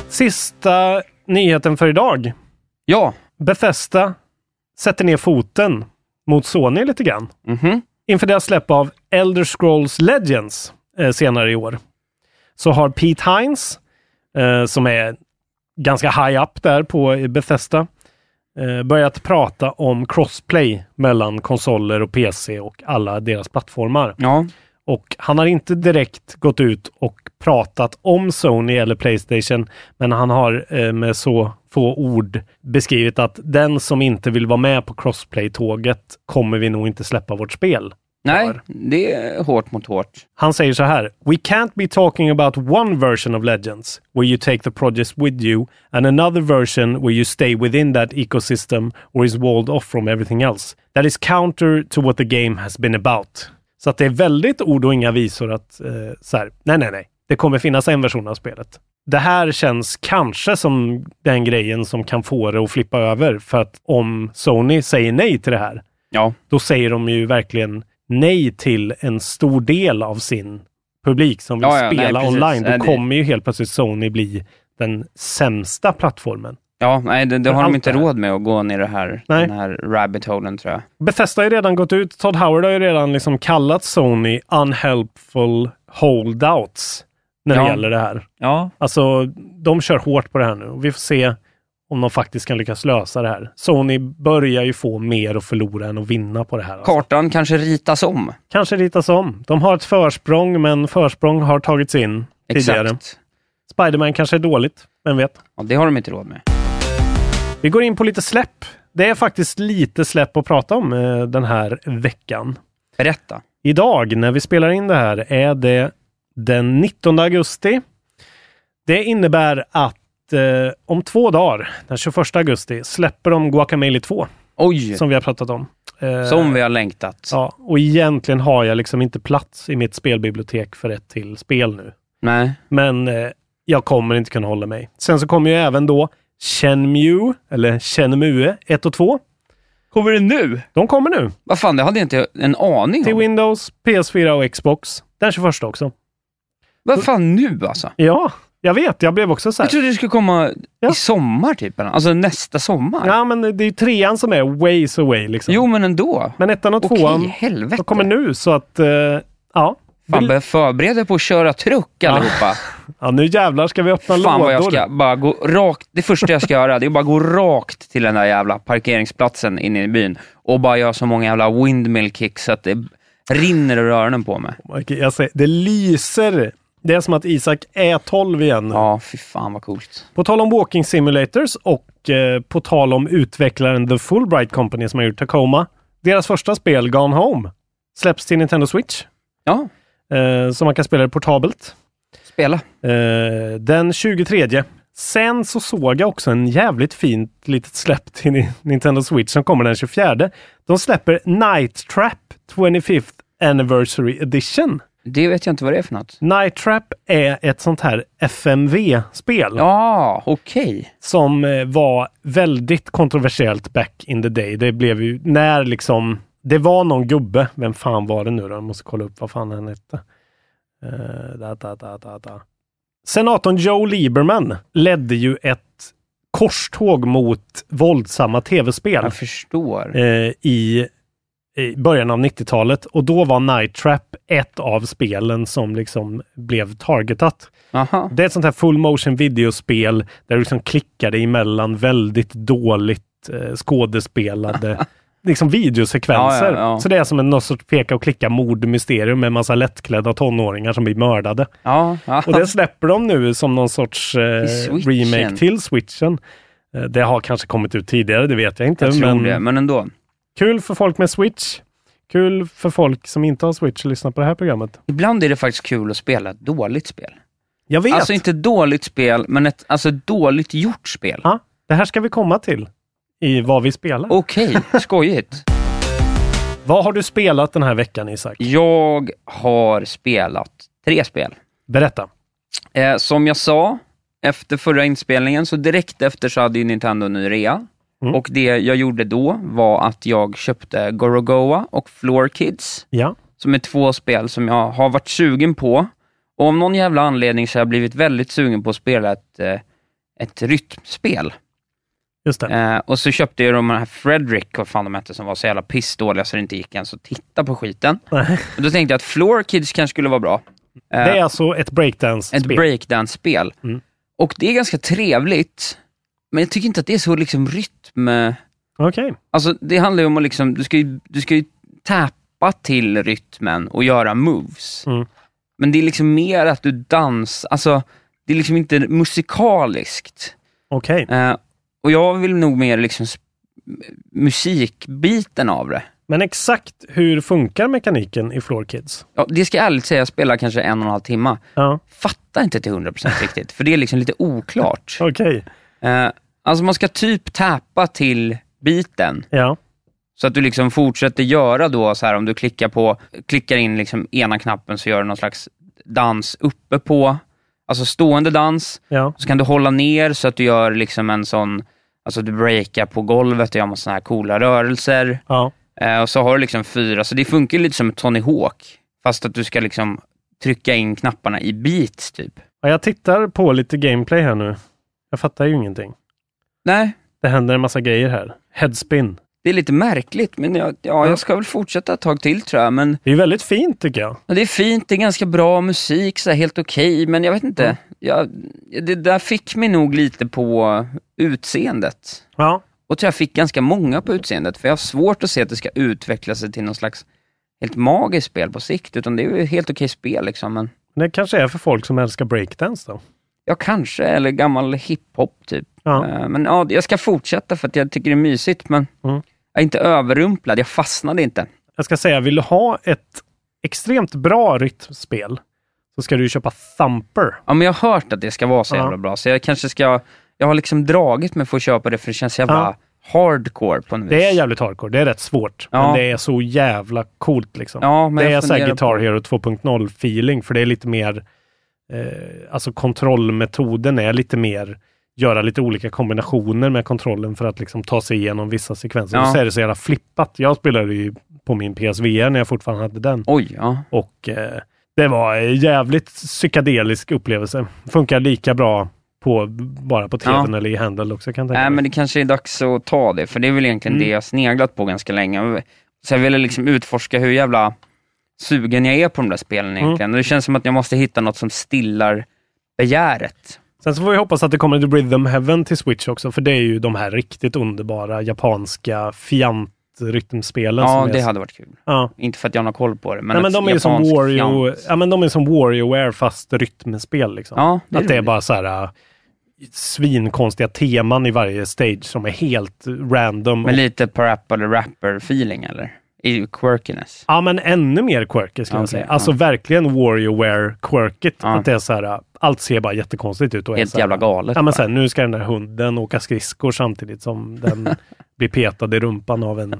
S2: Sista nyheten för idag.
S3: Ja,
S2: Bethesda sätter ner foten mot Sony lite grann.
S3: mhm.
S2: Inför deras släpp av Elder Scrolls Legends eh, senare i år så har Pete Hines, eh, som är ganska high up där på Bethesda, eh, börjat prata om crossplay mellan konsoler och PC och alla deras plattformar.
S3: ja,
S2: Och han har inte direkt gått ut och pratat om Sony eller Playstation, men han har eh, med så få ord beskrivit att den som inte vill vara med på crossplay-tåget kommer vi nog inte släppa vårt spel.
S3: nej,
S2: Kvar.
S3: det är hårt mot hårt.
S2: Han säger så här. We can't be talking about one version of Legends where you take the project with you and another version where you stay within that ecosystem or is walled off from everything else. That is counter to what the game has been about. Så att det är väldigt ord och inga visor att eh, så här, nej, nej, nej, det kommer finnas en version av spelet. Det här känns kanske som den grejen som kan få det att flippa över för att om Sony säger nej till det här,
S3: Ja,
S2: då säger de ju verkligen nej till en stor del av sin publik som vill
S3: Ja, ja, nej,
S2: spela
S3: precis.
S2: online. Då
S3: Nej, det-
S2: kommer ju helt plötsligt Sony bli den sämsta plattformen.
S3: ja nej, det, det
S2: För
S3: har
S2: allt
S3: de inte
S2: det här.
S3: råd med att gå ner i det här,
S2: Nej.
S3: den här rabbit holen tror jag.
S2: Bethesda har ju redan gått ut, Todd Howard har ju redan liksom kallat Sony unhelpful holdouts när det
S3: Ja.
S2: gäller det här.
S3: Ja,
S2: Alltså, de kör hårt på det här nu och vi får se om de faktiskt kan lyckas lösa det här. Sony börjar ju få mer att förlora än att vinna på det här. alltså.
S3: kartan kanske ritas om.
S2: Kanske ritas om. De har ett försprång, men försprång har tagits in tidigare.
S3: Exakt.
S2: Spiderman kanske är dåligt, vem vet?
S3: Ja, det har de inte råd med.
S2: Vi går in på lite släpp. Det är faktiskt lite släpp att prata om eh, den här veckan.
S3: Berätta.
S2: Idag när vi spelar in det här är det den 19 augusti. Det innebär att eh, om två dagar, den 21 augusti, släpper de Guacamelee 2
S3: Oj, som,
S2: som vi har pratat om. Eh,
S3: vi har längtat.
S2: Ja, och egentligen har jag liksom inte plats i mitt spelbibliotek för ett till spel nu.
S3: Nej,
S2: Men eh, jag kommer inte kunna hålla mig. Sen så kommer ju även då Shenmue, eller Shenmue 1 och 2.
S3: Kommer det nu?
S2: De kommer nu
S3: Vad fan, det hade jag inte en aning
S2: till
S3: om.
S2: Windows, PS4 och Xbox. Den 21 också.
S3: Vad fan nu alltså?
S2: Ja, jag vet. Jag blev också så här.
S3: Jag trodde det skulle komma i sommar typ. eller? Alltså nästa sommar.
S2: Ja, men det är ju trean som är ways away liksom.
S3: Jo, men ändå.
S2: Men ettan och
S3: Okej,
S2: tvåan
S3: helvete.
S2: de kommer nu så att, eh, ja.
S3: Fan, börja förbereda er på att köra truck allihopa.
S2: Ja, nu jävlar ska vi öppna
S3: Fan vad jag
S2: lådor.
S3: ska bara gå rakt, det första jag ska göra det är att bara gå rakt till den där jävla parkeringsplatsen inne i byn och bara göra så många jävla windmill kicks så att det rinner ur öronen på mig.
S2: Okej, Oh jag säger, det lyser. Det är som att Isak är 12 igen.
S3: Ja, fy fan vad coolt.
S2: På tal om Walking Simulators och eh, på tal om utvecklaren The Fulbright Company som har gjort Tacoma. Deras första spel, Gone Home, släpps till Nintendo Switch.
S3: Ja,
S2: Eh, så man kan spela det portabelt.
S3: spela.
S2: Eh, den 23. Sen så såg jag också en jävligt fint litet släpp till Ni- Nintendo Switch som kommer den 24. De släpper Night Trap 25th Anniversary Edition.
S3: Det vet jag inte vad det är för något.
S2: Night Trap är ett sånt här FMV-spel
S3: Ja, okej.
S2: som eh, var väldigt kontroversiellt back in the day. Det blev ju när liksom, det var någon gubbe, vem fan var det nu då? Jag måste kolla upp vad fan han hette. Eh, da, da, da, da, da. Senatorn Joe Lieberman ledde ju ett korståg mot våldsamma tv-spel
S3: Jag förstår.
S2: eh, i, i början av 90-talet och då var Night Trap ett av spelen som liksom blev targetat.
S3: Aha.
S2: Det är ett sånt här full motion videospel där du liksom klickar dig emellan väldigt dåligt eh, skådespelade liksom videosekvenser.
S3: Ja, ja, ja.
S2: Så det är som en någon sorts peka och klicka mordmysterium med en massa lättklädda tonåringar som blir mördade.
S3: Ja, ja.
S2: Och det släpper de nu som någon sorts eh,
S3: Till Switchen.
S2: remake till switchen. Eh, det har kanske kommit ut tidigare, det vet jag inte.
S3: jag tror
S2: men
S3: det, men ändå.
S2: kul för folk med switch. Kul för folk som inte har switch att lyssna på det här programmet.
S3: Ibland är det faktiskt kul att spela ett dåligt spel.
S2: Jag vet!
S3: Alltså inte dåligt spel, men ett alltså, ett dåligt gjort spel.
S2: ja, det här ska vi komma till i vad vi spelar.
S3: Okej, skojigt.
S2: Vad har du spelat den här veckan Isak?
S3: Jag har spelat tre spel.
S2: Berätta.
S3: Eh, som jag sa, efter förra inspelningen, så direkt efter så hade ju Nintendo en ny rea.
S2: Mm.
S3: Och det jag gjorde då var att jag köpte Gorogoa och Floor Kids,
S2: Ja.
S3: som är två spel som jag har varit sugen på. Och av någon jävla anledning så har jag blivit väldigt sugen på att spela ett, eh, ett rytmspel.
S2: Just det.
S3: Eh, och så köpte jag de här Fredrik, vad fan de hette, som var så jävla pissdåliga så det inte gick ens att titta på skiten.
S2: Nej.
S3: Och då tänkte jag att Floor Kids kanske skulle vara bra. Eh,
S2: Det är alltså ett breakdance-spel.
S3: ett breakdance-spel.
S2: Mm.
S3: Och det är ganska trevligt, men jag tycker inte att det är så liksom rytm...
S2: Okej.
S3: Alltså det handlar ju om att liksom, du ska ju, du ska ju tappa till rytmen och göra moves.
S2: Mm.
S3: Men det är liksom mer att du dansar, alltså det är liksom inte musikaliskt.
S2: Okej.
S3: Eh, och jag vill nog mer liksom sp- musikbiten av det.
S2: Men exakt hur funkar mekaniken i Floor Kids?
S3: Ja, det ska jag ärligt säga, jag spelar kanske en och en halv timme.
S2: Ja.
S3: Fattar inte till 100% riktigt, för det är liksom lite oklart.
S2: Okej.
S3: Eh, alltså man ska typ tappa till biten,
S2: Ja.
S3: så att du liksom fortsätter göra då, så här om du klickar på, klickar in liksom ena knappen så gör du någon slags dans uppe på, alltså stående dans,
S2: Ja.
S3: så kan du hålla ner så att du gör liksom en sån, alltså du breakar på golvet och gör massa såna här coola rörelser.
S2: Ja.
S3: Eh, och så har du liksom fyra, så det funkar lite som Tony Hawk, fast att du ska liksom trycka in knapparna i beats typ.
S2: ja. Jag tittar på lite gameplay här nu. Jag fattar ju ingenting.
S3: Nej,
S2: Det händer en massa grejer här. Headspin.
S3: det är lite märkligt, men jag, ja, jag ska väl fortsätta ett tag till tror jag, men
S2: Det är ju väldigt fint tycker jag.
S3: Ja, Det är fint, det är ganska bra musik, så här, helt okej, men jag vet inte. Jag, det där fick mig nog lite på utseendet.
S2: Ja.
S3: Och tror jag fick ganska många på utseendet, för jag har svårt att se att det ska utveckla sig till någon slags helt magiskt spel på sikt, utan det är ju ett helt okej spel liksom. Men
S2: Det kanske är för folk som älskar breakdance då.
S3: jag kanske, eller gammal hiphop typ.
S2: Ja.
S3: Eh, Men ja, jag ska fortsätta för att jag tycker det är mysigt, men
S2: Mm.
S3: jag är inte överrumplad, jag fastnade inte.
S2: Jag ska säga, vill du ha ett extremt bra rytmspel så ska du ju köpa Thumper.
S3: Ja, men jag har hört att det ska vara så
S2: Ja.
S3: jävla bra, så jag kanske ska... Jag har liksom dragit mig för att köpa det, för det känns jävla
S2: Ja.
S3: hardcore på något
S2: Det är
S3: vis.
S2: jävligt hardcore, det är rätt svårt.
S3: Ja.
S2: Men det är så jävla coolt liksom.
S3: Ja, men
S2: det
S3: jag
S2: är såhär
S3: funderar på-
S2: Guitar Hero 2.0 feeling, för det är lite mer, eh, alltså kontrollmetoden är lite mer, göra lite olika kombinationer med kontrollen för att liksom ta sig igenom vissa sekvenser.
S3: Ja.
S2: Och så är det så jävla flippat. Jag spelade ju på min PSVR när jag fortfarande hade den.
S3: Oj, ja.
S2: Och eh,
S7: Det var en jävligt psykedelisk upplevelse. Funkar lika bra på, bara på tvn
S2: Ja.
S7: eller i handel också kan jag tänka
S2: Nej,
S7: mig.
S2: men det kanske är dags att ta det, för det är väl egentligen det jag sneglat på ganska länge. Så jag ville liksom utforska hur jävla sugen jag är på de där spelen
S7: Mm.
S2: egentligen. Och det känns som att jag måste hitta något som stillar begäret.
S7: Sen så får vi hoppas att det kommer The Rhythm Heaven till Switch också, för det är ju de här riktigt underbara japanska fiant-rytmspelen.
S2: Ja,
S7: som är
S2: det
S7: så-
S2: hade varit kul.
S7: Ja.
S2: Inte för att jag har någon koll på det, men,
S7: Nej, men
S2: ett
S7: de är ju som
S2: japanskt
S7: Wario,
S2: fjant.
S7: ja, men de är som WarioWare fast rytmspel. Liksom.
S2: Ja, det är
S7: att det är
S2: roligt.
S7: bara så här äh, svinkonstiga teman i varje stage som är helt random.
S2: Med
S7: och,
S2: lite parappa eller rapper-feeling eller? I quirkiness.
S7: ja, men ännu mer quirky skulle
S2: Ja,
S7: jag säga.
S2: okej, ja.
S7: Alltså verkligen WarioWare-quirkigt.
S2: Ja.
S7: Att det är så här, äh, allt ser bara jättekonstigt ut. Och är
S2: Helt
S7: så här,
S2: jävla galet
S7: Ja, men
S2: bara.
S7: sen, nu ska den där hunden åka skridskor samtidigt som den blir petad i rumpan av en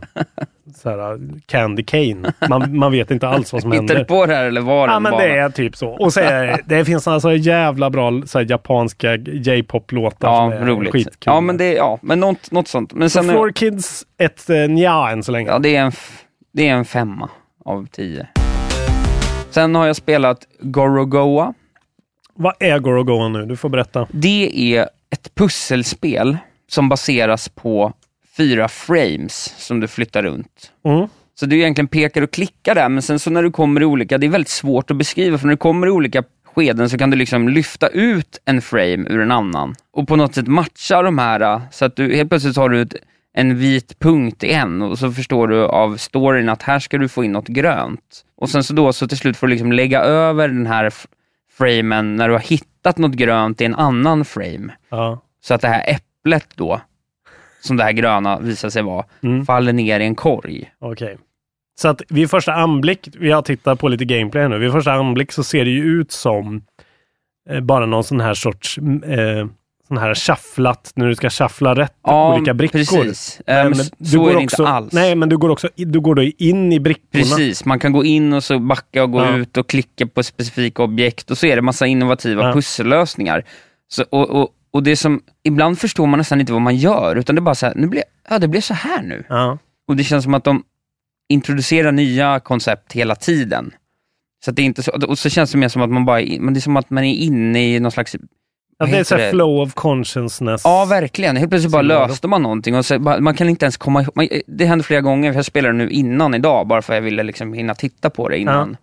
S7: så här, äh, candy cane. Man, man vet inte alls vad som
S2: Hittar du
S7: händer.
S2: på det här eller var
S7: Ja,
S2: den
S7: men
S2: bara?
S7: det är typ så. Och så är, det finns alltså jävla bra så här, japanska J-pop-låtar som
S2: Ja,
S7: är
S2: roligt.
S7: skitkul.
S2: Ja, men det ja, men något, något sånt. Men
S7: så
S2: sen,
S7: Floor Kids ett eh, nja än så länge.
S2: ja, det, är en, f- det är en femma av tio. Sen har jag spelat Gorogoa.
S7: Vad är Gorogoa nu? Du får berätta.
S2: Det är ett pusselspel som baseras på fyra frames som du flyttar runt.
S7: Mm.
S2: Så du egentligen pekar och klickar där, men sen så när du kommer i olika, det är väldigt svårt att beskriva, för när du kommer i olika skeden så kan du liksom lyfta ut en frame ur en annan och på något sätt matcha de här, äh, så att du helt plötsligt har du ett, en vit punkt i en och så förstår du av storyn att här ska du få in något grönt. Och sen så då så till slut får du liksom lägga över den här f- framen när du har hittat något grönt i en annan frame.
S7: Ja.
S2: Så att det här äpplet då, som det här gröna visar sig vara,
S7: Mm.
S2: faller ner i en korg.
S7: Okej. Så att vid första anblick, vi har tittat på lite gameplay här nu, vid första anblick så ser det ju ut som eh, bara någon sån här sorts mm, eh, sån här shufflat, när du ska shuffla rätt olika brickor.
S2: precis.
S7: Nej,
S2: Ehm,
S7: men
S2: så
S7: du
S2: är
S7: går
S2: det
S7: också,
S2: inte alls.
S7: Nej, men du går också i- du går då in i brickorna.
S2: Precis, man kan gå in och så backa och gå
S7: Ja.
S2: ut och klicka på specifika objekt och så är det massa innovativa
S7: Ja.
S2: pussellösningar. Så, och, och, och det som, ibland förstår man nästan inte vad man gör, utan det är bara så här, nu blev, ja det blev så här nu.
S7: Ja.
S2: Och det känns som att de introducerar nya koncept hela tiden. Så att det är inte så, och så känns det mer som att man bara, är in- men det är som att man är inne i någon slags
S7: Ja,
S2: Vad
S7: det är
S2: heter
S7: så här
S2: det?
S7: flow of consciousness.
S2: Ja, verkligen. Helt plötsligt bara
S7: Som gör
S2: löste man någonting. Och så bara, man kan inte ens komma ihåg. man- Det hände flera gånger, för jag spelade nu innan idag, bara för att jag ville liksom hinna titta på det innan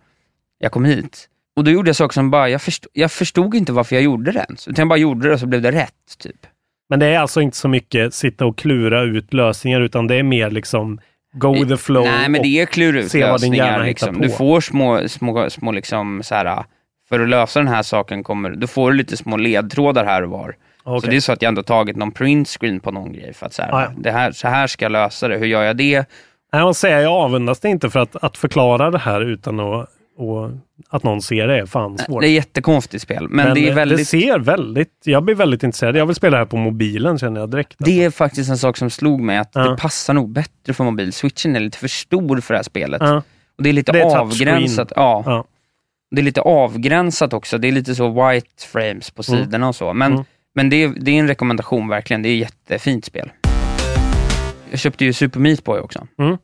S2: jag kom hit. Och då gjorde jag saker som bara, jag förstod, jag förstod inte varför jag gjorde det ens. Utan jag bara gjorde det och så blev det rätt, typ.
S7: Men det är alltså inte så mycket sitta och klura ut lösningar, utan det är mer liksom go with the flow.
S2: Nej, men
S7: och-
S2: det är klura ut
S7: se vad din hjärna hittar
S2: lösningar. Liksom.
S7: på.
S2: Du får små, små, små liksom så här, för att lösa den här saken kommer, du får lite små ledtrådar här och var. Så
S7: Okej.
S2: det är så att jag ändå tagit någon print screen på någon grej för att så här,
S7: Ah, ja.
S2: det här, så här ska jag lösa det, hur gör jag det?
S7: Nej, jag säger, jag avundas det inte för att, att förklara det här utan att, och, att någon ser det är fan svårt.
S2: Det är jättekonstigt spel, men, det är
S7: eh,
S2: väldigt... Det,
S7: det ser väldigt, jag blir väldigt intresserad. Jag vill spela det här på mobilen känner jag direkt. alltså.
S2: är faktiskt en sak som slog mig, att
S7: Ja.
S2: det passar nog bättre för mobil. Switchen är lite för stor för det här spelet.
S7: Ja.
S2: Och det är lite
S7: Det är touchscreen.
S2: avgränsat. Ja.
S7: Ja.
S2: Det är lite avgränsat också. Det är lite så white frames på sidorna och så. Men,
S7: Mm.
S2: men det, är, det är en rekommendation verkligen. Det är ett jättefint spel. Jag köpte ju Super Meat Boy också.
S7: Mm.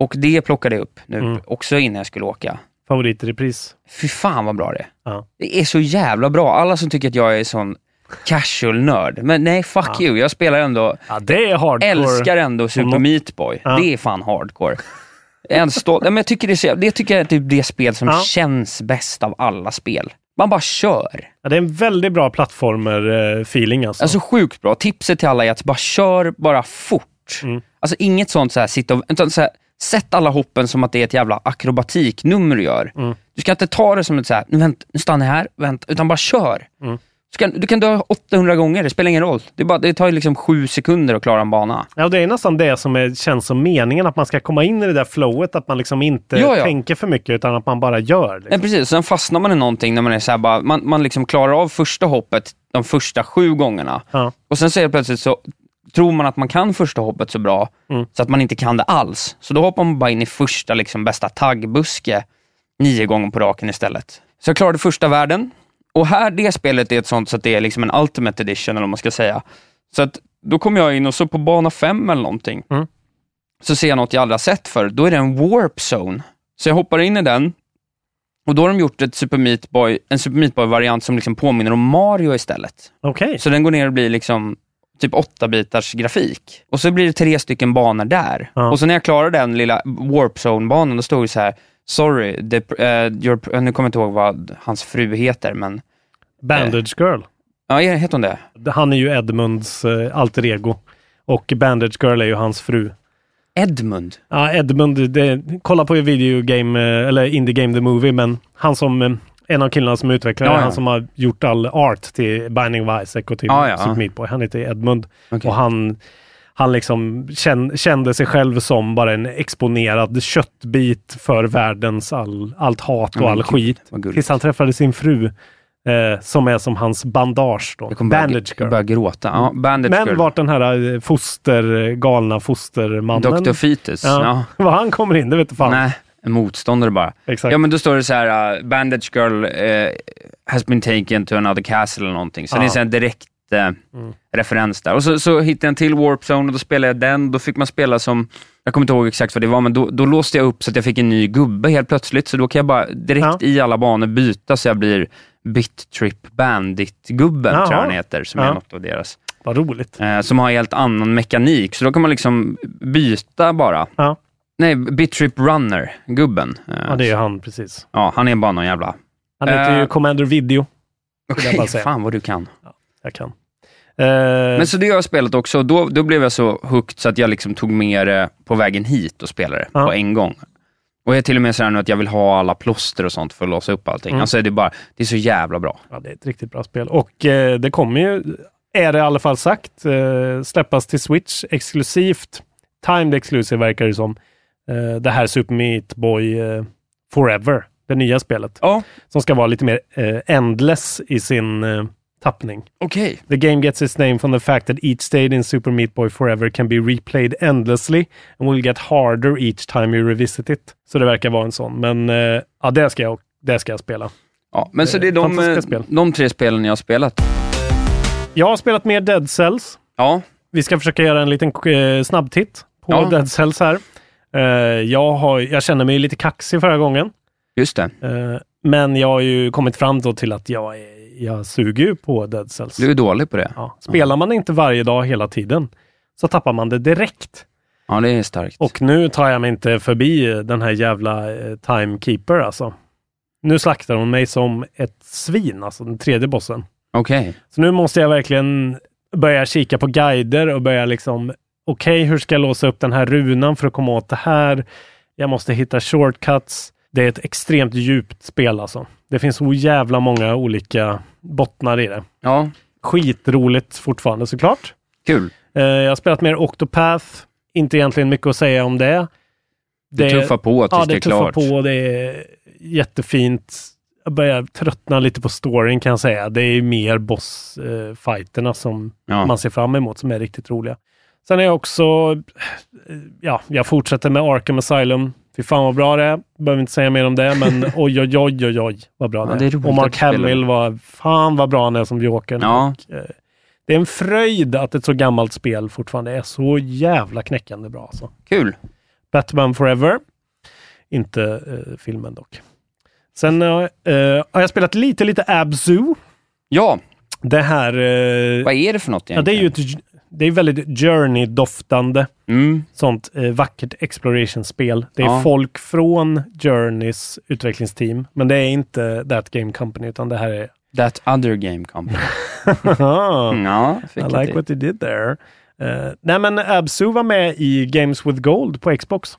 S2: Och det plockade jag upp nu,
S7: Mm.
S2: också innan jag skulle åka.
S7: Favorit i repris.
S2: Fy fan vad bra det är.
S7: Ja.
S2: Det är så jävla bra. Alla som tycker att jag är sån casual-nörd. Men nej, fuck
S7: Ja.
S2: you. Jag spelar ändå,
S7: Ja, det är hardcore.
S2: älskar ändå Super
S7: något-
S2: Meat Boy.
S7: Ja.
S2: Det är fan hardcore. Jag är ändå stolt. Nej, men jag tycker det, är så, jävla- det tycker jag är typ det spel som
S7: Ja.
S2: känns bäst av alla spel. Man bara kör.
S7: Ja, det är en väldigt bra plattformer-feeling alltså.
S2: Alltså sjukt bra. Tipset till alla är att bara kör bara fort.
S7: Mm.
S2: Alltså inget sånt så här, sitta och, utan så här, sätt alla hoppen som att det är ett jävla akrobatiknummer du gör.
S7: Mm.
S2: Du ska inte ta det som ett så här, nu, vänt, nu stannar jag här, vänta, utan bara kör.
S7: Mm.
S2: Du, kan, du kan dö 800 gånger, det spelar ingen roll. Det, är bara, det tar ju liksom sju sekunder att klara en bana.
S7: Ja, och det är nästan det som är, känns som meningen, att man ska komma in i det där flowet, att man liksom inte
S2: Ja, ja.
S7: tänker för mycket utan att man bara gör. Liksom.
S2: Nej, precis, sen fastnar man i någonting när man är så här, bara, man, man liksom klarar av första hoppet de första sju gångerna.
S7: Ja.
S2: Och sen så helt plötsligt så tror man att man kan första hoppet så bra,
S7: Mm.
S2: så att man inte kan det alls. Så då hoppar man bara in i första liksom, bästa taggbuske nio gånger på raken istället. Så jag klarade första världen. Och här, det spelet är ett sånt så att det är liksom en ultimate edition eller vad man ska säga. Så att då kom jag in och så på bana fem eller någonting,
S7: Mm.
S2: så ser jag något jag aldrig har sett förut. Då är det en warp zone. Så jag hoppar in i den
S3: Och då har de gjort ett Super Meat Boy, en Super Meat Boy-variant som liksom påminner om Mario istället.
S2: Okej.
S3: Så den går ner och blir liksom typ 8-bitars grafik. Och så blir det tre stycken banor där.
S2: Ja.
S3: Och så när jag klarade den lilla Warp Zone-banan, då stod det så här, sorry, the, eh, your, eh, nu kommer jag inte ihåg vad hans fru heter, men...
S2: Bandage Girl.
S3: Eh, Ja, heter hon det?
S2: Han är ju Edmunds eh, alter ego. Och Bandage Girl är ju hans fru.
S3: Edmund?
S2: Ja, Edmund, det, kolla på video game, eh, eller Indie Game The Movie, men han som, eh, en av killarna som utvecklar
S3: Ja,
S2: det,
S3: ja.
S2: han som har gjort all art till Binding of Isaac och till
S3: Ja, ja.
S2: Super Meat Boy, han heter Edmund.
S3: Okej.
S2: Och han, han liksom känn, kände sig själv som bara en exponerad köttbit för världens all, allt hat och
S3: men
S2: all
S3: gud,
S2: skit.
S3: vad gulligt.
S2: Tills han träffade sin fru, eh, som är som hans bandage då.
S3: Jag kommer börja,
S2: Bandage
S3: jag
S2: girl.
S3: börja gråta. Ja, Bandage
S2: Men
S3: Girl.
S2: vart den här eh, foster, galna fostermannen
S3: Dr. Fetus.
S2: Ja.
S3: Ja.
S2: Vad han kommer in, det vet fan.
S3: Nej, en motståndare bara.
S2: Exakt.
S3: Ja, men då står det så här, uh, Bandage Girl eh, has been taken to another castle eller någonting. Så
S2: Ja. Mm.
S3: det är så här direkt eh, referens där. Och så, så hittade jag en till Warp Zone och då spelade jag den. Då fick man spela som, jag kommer inte ihåg exakt vad det var, men då, då låste jag upp så att jag fick en ny gubbe helt plötsligt. Så då kan jag bara direkt
S2: Ja.
S3: i alla banor byta så jag blir Bit Trip Bandit-gubben,
S2: Jaha.
S3: tror jag han heter, som
S2: Ja.
S3: är något av deras.
S2: Vad roligt.
S3: Eh, som har helt annan mekanik, så då kan man liksom byta bara.
S2: Ja.
S3: Nej, Bitrip Runner, gubben. Eh,
S2: ja, det är ju han precis.
S3: ja, han är bara någon jävla...
S2: Han heter ju
S3: Eh.
S2: Commander Video. jag
S3: Okej,
S2: bara säga.
S3: fan vad du kan.
S2: Jag kan. Eh,
S3: Men
S2: Men,
S3: så det har jag spelat också, och då, då blev jag så hooked så att jag liksom tog med det på vägen hit och spelade det
S2: Ja.
S3: på en gång. Och jag är till och med så här nu att jag vill ha alla plåster och sånt för att låsa upp allting. Alltså det är bara, det är så jävla bra.
S2: Mm. ja, det är ett riktigt bra spel. Och eh, det kommer ju, är det i alla fall sagt, eh, släppas till Switch exklusivt. Timed exclusive verkar det som. Eh, det här Super Meat Boy eh, Forever, det nya spelet.
S3: Ja,
S2: Som ska vara lite mer eh, endless i sin eh, tappning.
S3: okej.
S2: The game gets its name from the fact that each stage in Super Meat Boy Forever can be replayed endlessly and will get harder each time you revisit it. Så det verkar vara en sån, men eh, ja, det ska jag, det ska jag spela.
S3: Ja, men så
S2: Eh,
S3: det är de,
S2: fantastiska
S3: eh,
S2: spel.
S3: de tre spelen jag har spelat.
S2: Jag har spelat mer Dead Cells.
S3: Ja,
S2: Vi ska försöka göra en liten eh, snabbtitt på
S3: Ja.
S2: Dead Cells här. Eh, jag, har, jag kände mig lite kaxig förra gången,
S3: just det.
S2: eh, men jag har ju kommit fram då till att jag, är, jag suger ju på Dead Cells.
S3: Du är dålig på det. Ja,
S2: Ja. Spelar man inte varje dag hela tiden så tappar man det direkt.
S3: det är starkt.
S2: Och nu tar jag mig inte förbi eh, den här jävla eh, timekeeper alltså. Nu slaktar hon mig som ett svin, alltså den tredje bossen.
S3: Okej.
S2: Så nu måste jag verkligen börja kika på guider och börja liksom, okej, hur ska jag låsa upp den här runan för att komma åt det här? Jag måste hitta shortcuts. Det är ett extremt djupt spel alltså. Det finns så jävla många olika bottnar i det.
S3: Ja,
S2: Skitroligt fortfarande såklart.
S3: kul.
S2: Eh, Jag har spelat mer Octopath. Inte egentligen mycket att säga om det.
S3: Det, tuffar på tills
S2: ja,
S3: det är
S2: tuffar
S3: klart.
S2: på. Det är jättefint. Jag börjar tröttna lite på storyn kan jag säga. Det är mer bossfighterna som
S3: Ja.
S2: man ser fram emot som är riktigt roliga. Sen är jag också, eh, ja, jag fortsätter med Arkham Asylum. Fy fan vad bra det är. Behöver inte säga mer om det, men oj, oj, oj, oj, oj vad bra
S3: Ja,
S2: det
S3: det är
S2: är.
S3: roligt
S2: och
S3: att
S2: Mark
S3: du spelar
S2: Hamill, var, fan vad bra han är som Jokern.
S3: Ja.
S2: Och, eh, Det är en fröjd att ett så gammalt spel fortfarande är så jävla knäckande bra. Alltså.
S3: Kul.
S2: Batman Forever. Inte eh, filmen dock. Sen eh, eh, har jag spelat lite, lite Abzu.
S3: Ja,
S2: Det här... eh,
S3: vad är det för något
S2: ja, det är
S3: egentligen?
S2: ju ett, j- det är väldigt Journey-doftande,
S3: Mm.
S2: sånt eh, vackert exploration-spel. Det är
S3: Ja.
S2: folk från Journeys utvecklingsteam, men det är inte That Game Company, utan det här är...
S3: That other game company. Ja, fick
S2: I
S3: jag
S2: like
S3: till.
S2: what you did there. Eh, nej, men Absu var med i Games with Gold på Xbox.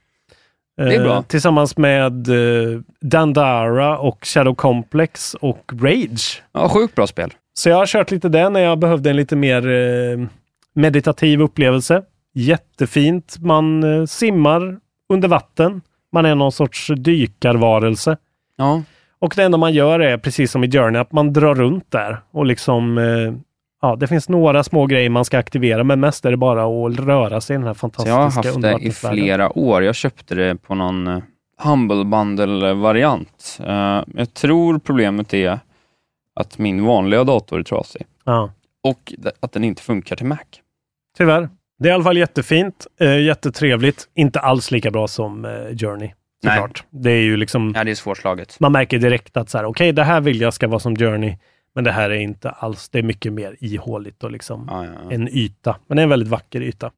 S3: är
S2: Eh,
S3: bra.
S2: Tillsammans med eh, Dandara och Shadow Complex och Rage.
S3: Ja, sjukt bra spel.
S2: Så jag har kört lite det när jag behövde en lite mer eh, meditativ upplevelse. Jättefint. Man eh, simmar under vatten. Man är någon sorts dykarvarelse.
S3: Ja,
S2: Och det enda man gör är, precis som i Journey, att man drar runt där och liksom, eh, ja, det finns några små grejer man ska aktivera, men mest är det bara att röra sig i den här
S3: så
S2: fantastiska
S3: jag har haft det i
S2: undervattensvärlden.
S3: flera år. Jag köpte det på någon eh, Humble Bundle-variant. Eh, jag tror problemet är att min vanliga dator är trasig
S2: Ja,
S3: och d- att den inte funkar till Mac.
S2: tyvärr. Det är i alla fall jättefint, eh, jättetrevligt, inte alls lika bra som eh, Journey.
S3: Nej.
S2: såklart. Det är ju liksom,
S3: Ja, det är svårslaget.
S2: man märker direkt att så här, okej, det här vill jag ska vara som Journey, men det här är inte alls, det är mycket mer ihåligt och liksom
S3: Ja, ja, ja.
S2: en yta. Men det är en väldigt vacker yta.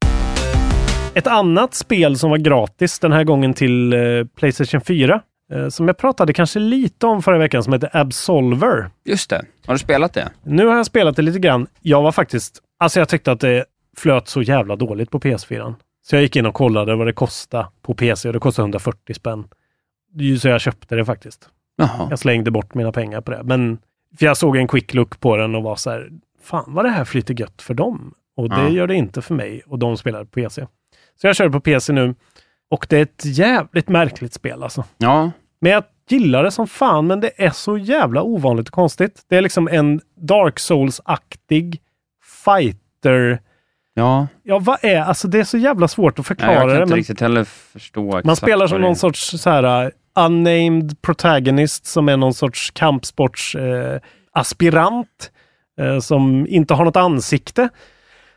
S2: Ett annat spel som var gratis den här gången till eh, Playstation 4, eh, som jag pratade kanske lite om förra veckan, som heter Absolver.
S3: Just det. Har du spelat det?
S2: Nu har jag spelat det lite grann. Jag var faktiskt, alltså jag tyckte att det flöt så jävla dåligt på PS4. Så jag gick in och kollade vad det kostade på PC och det kostade 140 spänn. Det är ju Så jag köpte det faktiskt.
S3: Jaha.
S2: Jag slängde bort mina pengar på det. Men för jag såg en quick look på den och var så här, fan vad det här flyter gött för dem. Och det
S3: Ja.
S2: gör det inte för mig. Och de spelar på PC. Så jag kör på PC nu. Och det är ett jävligt märkligt spel alltså.
S3: Ja.
S2: Men jag gillar det som fan, men det är så jävla ovanligt och konstigt. Det är liksom en Dark Souls-aktig fighter.
S3: Ja.
S2: Ja, vad är, alltså det är så jävla svårt att
S3: Nej,
S2: förklara
S3: jag kan
S2: det.
S3: inte
S2: Men
S3: riktigt heller förstå
S2: man
S3: exakt
S2: spelar
S3: vad
S2: som
S3: det är.
S2: någon sorts så här uh, unnamed protagonist som är någon sorts kampsports eh, aspirant eh, som inte har något ansikte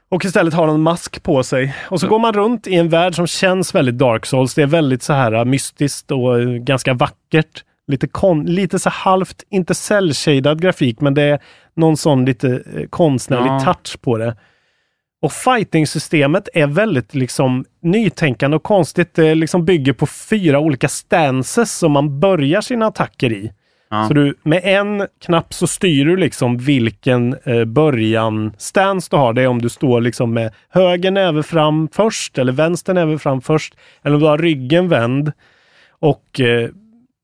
S2: och istället har en mask på sig. Och så går man runt i en värld som känns väldigt Dark Souls. Det är väldigt så här uh, mystiskt och eh, ganska vackert. Lite, kon- lite så halvt, inte cell-shaded grafik, men det är någon sån lite eh, konstnärlig
S3: Ja.
S2: touch på det. Och fighting-systemet är väldigt liksom nytänkande och konstigt. Det liksom bygger på fyra olika stances som man börjar sina attacker i.
S3: Ja.
S2: Så du, med en knapp så styr du liksom vilken eh, början-stance du har. Det är om du står liksom med höger näve fram först eller vänster näve fram först. Eller om du har ryggen vänd. Och eh,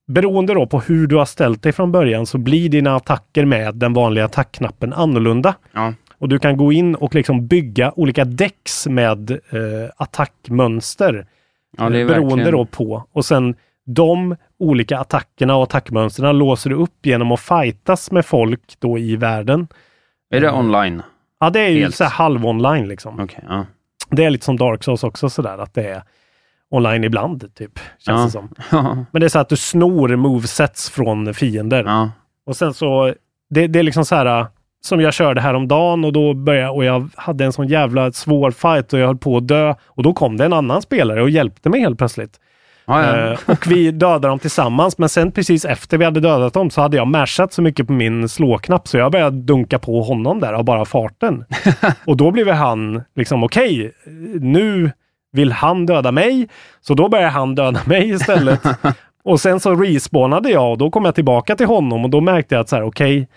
S2: beroende då på hur du har ställt dig från början så blir dina attacker med den vanliga attackknappen annorlunda.
S3: Ja.
S2: Och du kan gå in och liksom bygga olika decks med eh, attackmönster. eh,
S3: Ja, det är
S2: beroende
S3: verkligen...
S2: då på. Och sen de olika attackerna och attackmönstren låser du upp genom att fightas med folk då i världen. Eh,
S3: Är det online?
S2: Ja, det är ju
S3: Helt.
S2: så här halv-online liksom.
S3: Okej, ja.
S2: Det är lite som Dark Souls också sådär, att det är online ibland, typ. Känns
S3: Ja.
S2: det som.
S3: ja.
S2: Men det är så att du snor movesets från fiender.
S3: ja.
S2: Och sen så, det, det är liksom så här äh, som jag körde häromdagen och då började och jag hade en sån jävla svår fight och jag höll på att dö och då kom det en annan spelare och hjälpte mig helt plötsligt.
S3: ja, ja.
S2: Eh, och vi dödade dem tillsammans men sen precis efter vi hade dödat dem så hade jag mashat så mycket på min slåknapp så jag började dunka på honom där av bara farten. och då blev han liksom okej, nu vill han döda mig så då började han döda mig istället. Och sen så respawnade jag och då kom jag tillbaka till honom och då märkte jag att så här, okej,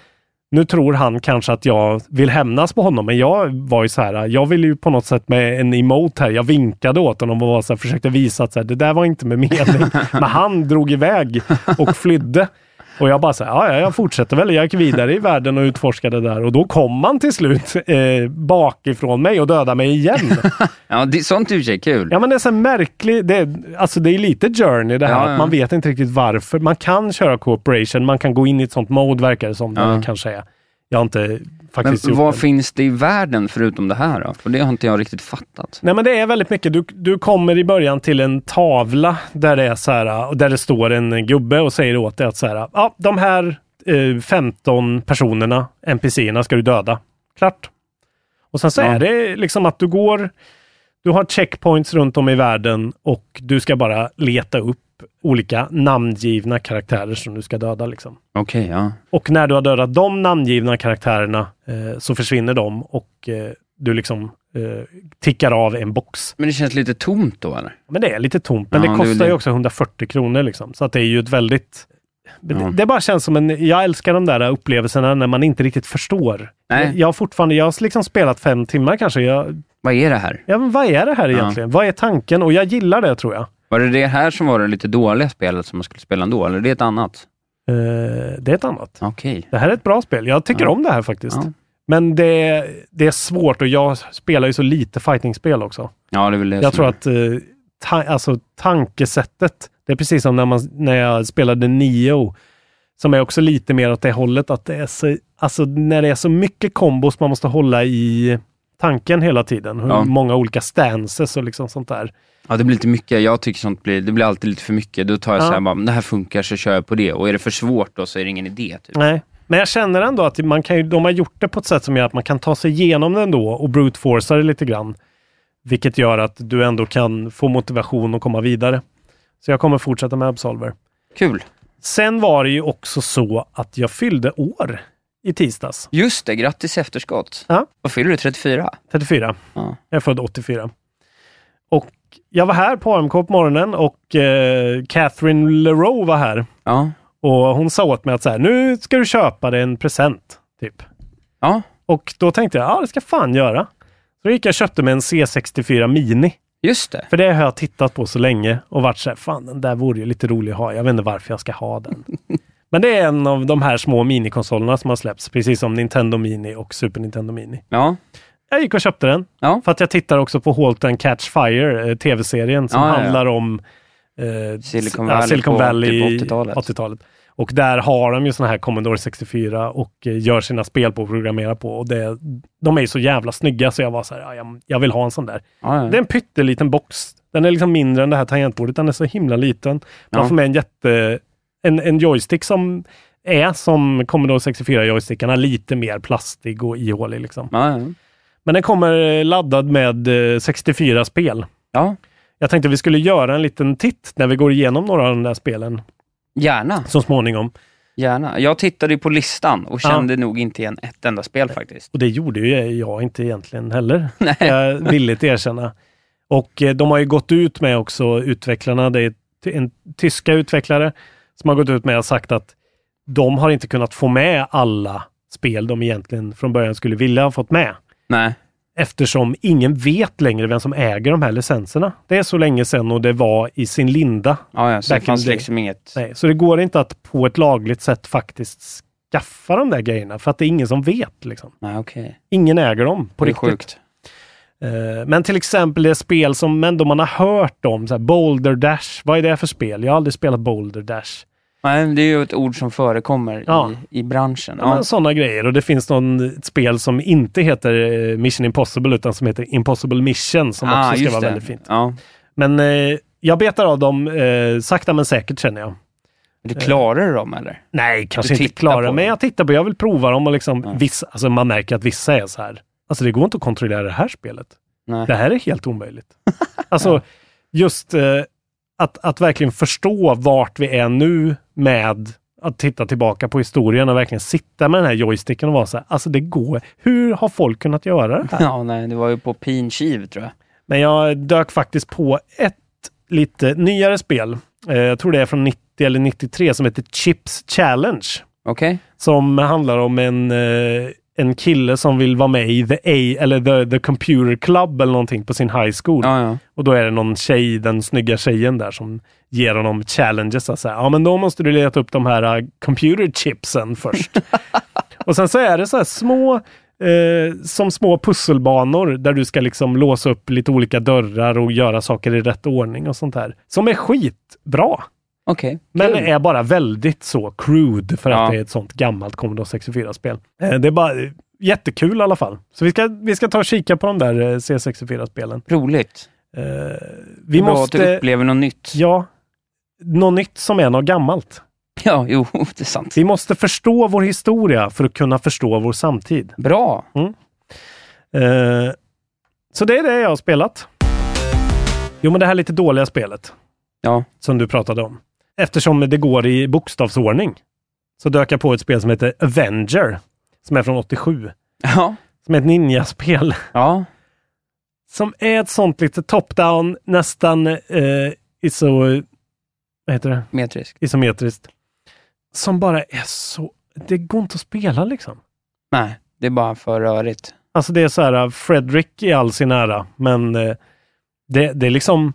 S2: nu tror han kanske att jag vill hämnas på honom, men jag var ju så här, jag ville ju på något sätt med en emote här, jag vinkade åt honom och var så här, försökte visa att så här, det där var inte med mening. men han drog iväg och flydde. Och jag bara så här, ja, ja, jag fortsätter väl. Jag gick vidare i världen och utforskade där och då kom han till slut eh, bakifrån mig och dödade mig igen.
S3: ja det, sånt i och för sig är kul.
S2: Ja men det är så här märklig, det är, alltså det är lite journey det här,
S3: Ja,
S2: att
S3: ja.
S2: man vet inte riktigt varför. Man kan köra cooperation, man kan gå in i ett sånt mode verkar det som, där
S3: Ja.
S2: det kanske är. Jag har inte
S3: Men
S2: faktiskt gjort
S3: vad
S2: det.
S3: finns det i världen förutom det här då? För det har inte jag riktigt fattat.
S2: Nej men det är väldigt mycket, du, du kommer i början till en tavla där det är så här, och där det står en gubbe och säger åt dig att så här, ja de här eh, 15 personerna, NPCerna ska du döda. Klart. Och sen så
S3: Ja.
S2: är det liksom att du går, du har checkpoints runt om i världen och du ska bara leta upp olika namngivna karaktärer som du ska döda liksom.
S3: Okej, ja.
S2: Och när du har dödat de namngivna karaktärerna eh, så försvinner de och eh, du liksom eh, tickar av en box.
S3: Men det känns lite tomt då eller?
S2: Men det är lite tomt, men
S3: Ja,
S2: det
S3: det är
S2: kostar
S3: väl
S2: ju
S3: det.
S2: också 140 kronor liksom. Så att det är ju ett väldigt... men det-
S3: Ja.
S2: Det bara känns som en... Jag älskar de där upplevelserna när man inte riktigt förstår.
S3: Nej.
S2: Jag har fortfarande... Jag har liksom spelat fem timmar kanske. Jag,
S3: Vad är det här?
S2: ja, men vad är det här
S3: Ja.
S2: egentligen? Vad är tanken? Och jag gillar det tror jag.
S3: Var det det här som var det lite dåliga spelet som man skulle spela ändå, eller är det ett annat?
S2: Eh, det är ett annat.
S3: Okej.
S2: Det här är ett bra spel. Jag tycker
S3: Ja.
S2: om det här faktiskt.
S3: Ja.
S2: Men det, det är svårt och jag spelar ju så lite fightingspel också.
S3: Ja, det är väl det
S2: Jag
S3: som-
S2: tror att eh, ta- alltså, tankesättet, det är precis som när, man, när jag spelade Nio, som är också lite mer åt det hållet, att det är så, alltså, när det är så mycket kombos man måste hålla i tanken hela tiden. Hur
S3: Ja.
S2: många olika stances och liksom sånt där.
S3: Ja, det blir lite mycket. Jag tycker sånt blir, det blir alltid lite för mycket. Då tar jag
S2: Ja.
S3: så här, bara, "Men det här funkar så kör jag på det. Och är det för svårt då så är det ingen idé. Typ.
S2: Nej, men jag känner ändå att man kan ju, de har gjort det på ett sätt som gör att man kan ta sig igenom den då och brute forca det lite grann. Vilket gör att du ändå kan få motivation och komma vidare. Så jag kommer fortsätta med Absolver.
S3: Kul.
S2: Sen var det ju också så att jag fyllde år i tisdags.
S3: Just det, grattis efterskott.
S2: Ja.
S3: Vad fyller du? 34?
S2: 34.
S3: Ja.
S2: Jag är född 84. Och jag var här på AMK på morgonen och eh, Catherine Leroux var här.
S3: Ja.
S2: Och hon sa åt mig att så här, nu ska du köpa dig en present. Typ.
S3: ja,
S2: Och då tänkte jag, ja det ska jag fan göra. Så då gick jag och köpte mig en C64 Mini.
S3: just det.
S2: För det har jag tittat på så länge och varit så här, fan den där vore ju lite rolig att ha. Jag vet inte varför jag ska ha den. Men det är en av de här små minikonsolerna som har släppts, precis som Nintendo Mini och Super Nintendo Mini.
S3: Ja,
S2: Jag gick och köpte den.
S3: ja.
S2: För att jag tittar också på Halt and Catch Fire, eh, tv-serien som
S3: Ja, ja, ja.
S2: handlar om eh,
S3: Silicon
S2: ja,
S3: Valley
S2: Silicon
S3: på
S2: Valley
S3: typ 80-talet.
S2: 80-talet. Och där har de ju såna här Commodore 64 och eh, gör sina spel på och programmerar på. Och det, de är ju så jävla snygga så jag var så här, ja, jag, jag vill ha en sån där.
S3: ja,
S2: Det är
S3: ja.
S2: en pytteliten box. Den är liksom mindre än det här tangentbordet. Den är så himla liten. Man
S3: Ja.
S2: får med en jätte... En, en joystick som är som Commodore 64-joystickarna, lite mer plastig och ihålig liksom.
S3: Ja, ja.
S2: Men den kommer eh, laddad med eh, 64 spel.
S3: ja.
S2: Jag tänkte vi skulle göra en liten titt när vi går igenom några av de där spelen
S3: Gärna,
S2: så småningom.
S3: gärna. Jag tittade ju på listan och
S2: Ja.
S3: kände nog inte igen ett enda spel faktiskt.
S2: Och det gjorde ju jag inte egentligen heller,
S3: Nej.
S2: ska jag villigt erkänna. Och eh, de har ju gått ut med också, utvecklarna, det är ty- en tyska utvecklare som har gått ut med och sagt att de har inte kunnat få med alla spel de egentligen från början skulle vilja ha fått med.
S3: Nej.
S2: eftersom ingen vet längre vem som äger de här licenserna. Det är så länge sedan och det var i sin linda.
S3: Ja, ja, så det
S2: Back in
S3: fanns
S2: the day.
S3: liksom inget...
S2: Nej, så det går inte att på ett lagligt sätt faktiskt skaffa de där grejerna för att det är ingen som vet. Liksom.
S3: Nej, okej.
S2: Ingen äger dem på
S3: Det är
S2: riktigt.
S3: sjukt.
S2: Eh, Men till exempel det spel som ändå man har hört om, så här Boulder Dash. Vad är det för spel? Jag har aldrig spelat Boulder Dash.
S3: Nej, det är ju ett ord som förekommer
S2: Ja.
S3: i, i branschen.
S2: Ja.
S3: Ja.
S2: men Sådana grejer. Och det finns någon, ett spel som inte heter eh, Mission Impossible utan som heter Impossible Mission som också ska
S3: just
S2: vara
S3: det.
S2: väldigt fint.
S3: Ja.
S2: Men eh, jag betar av dem eh, sakta men säkert känner jag. Eh.
S3: Du klarar du dem eller?
S2: Nej, kanske inte
S3: tittar på
S2: klara,
S3: dem.
S2: men jag tittar på, jag vill prova dem och liksom,
S3: Ja.
S2: vissa, alltså man märker att vissa är så här, alltså det går inte att kontrollera det här spelet.
S3: Nej.
S2: Det här är helt omöjligt. Alltså just eh, att, att verkligen förstå vart vi är nu med att titta tillbaka på historien och verkligen sitta med den här joysticken och vara så här, alltså det går, hur har folk kunnat göra det här?
S3: Ja, nej, det var ju på pinkiv tror jag.
S2: Men jag dök faktiskt på ett lite nyare spel. Eh, Jag tror det är från 90 eller 93 som heter Chips Challenge.
S3: Okej?
S2: Som handlar om en, eh, en kille som vill vara med i The, A, eller the, the Computer Club eller någonting på sin high school.
S3: Ja, ja.
S2: Och då är det någon tjej, den snygga tjejen där som ger honom challenges. Att säga, ja men då måste du leta upp de här eh, computer chipsen först. och sen så är det så här små, eh, som små pusselbanor där du ska liksom låsa upp lite olika dörrar och göra saker i rätt ordning och sånt där. Som är skitbra.
S3: Okej.
S2: Men
S3: Kul.
S2: är bara väldigt så crude för att
S3: Ja.
S2: det är ett sånt gammalt Commodore 64-spel. Eh, det är bara eh, jättekul i alla fall. Så vi ska, vi ska ta och kika på de där eh, C64-spelen.
S3: Roligt.
S2: Eh, vi
S3: Bra att du
S2: måste...
S3: upplever något nytt.
S2: Ja, något nytt som är något gammalt.
S3: Ja, jo, det är sant.
S2: Vi måste förstå vår historia för att kunna förstå vår samtid. Mm.
S3: Bra.
S2: Eh, så det är det jag har spelat. Jo, men det här lite dåliga spelet
S3: Ja.
S2: som du pratade om. Eftersom det går i bokstavsordning så dök jag på ett spel som heter Avenger, som är från 87.
S3: Ja.
S2: Som är ett ninjaspel.
S3: Ja.
S2: Som är ett sånt lite top-down, nästan eh, iso... Vad heter det?
S3: Metrisk.
S2: isometriskt. Som bara är så... Det går inte att spela liksom.
S3: Nej, det är bara för rörigt.
S2: Alltså det är så här, Fredrik i all sin ära, men eh, det, det är liksom...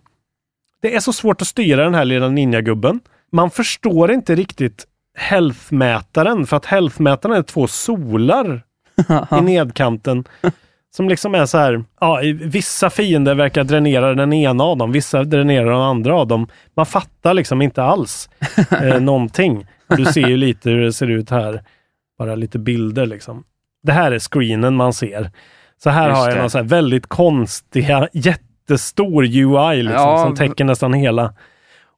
S2: Det är så svårt att styra den här lilla ninjagubben. Man förstår inte riktigt healthmätaren, för att healthmätaren är två solar i nedkanten. Som liksom är så här, ja, i- vissa fiender verkar dränera den ena av dem, vissa dränerar den andra av dem. Man fattar liksom inte alls eh, någonting. Du ser ju lite hur det ser ut här, bara lite bilder liksom. Det här är screenen man ser. Så här
S3: Just
S2: har jag
S3: det.
S2: någon så här väldigt konstiga, jättestor UI liksom,
S3: Ja,
S2: som täcker nästan hela.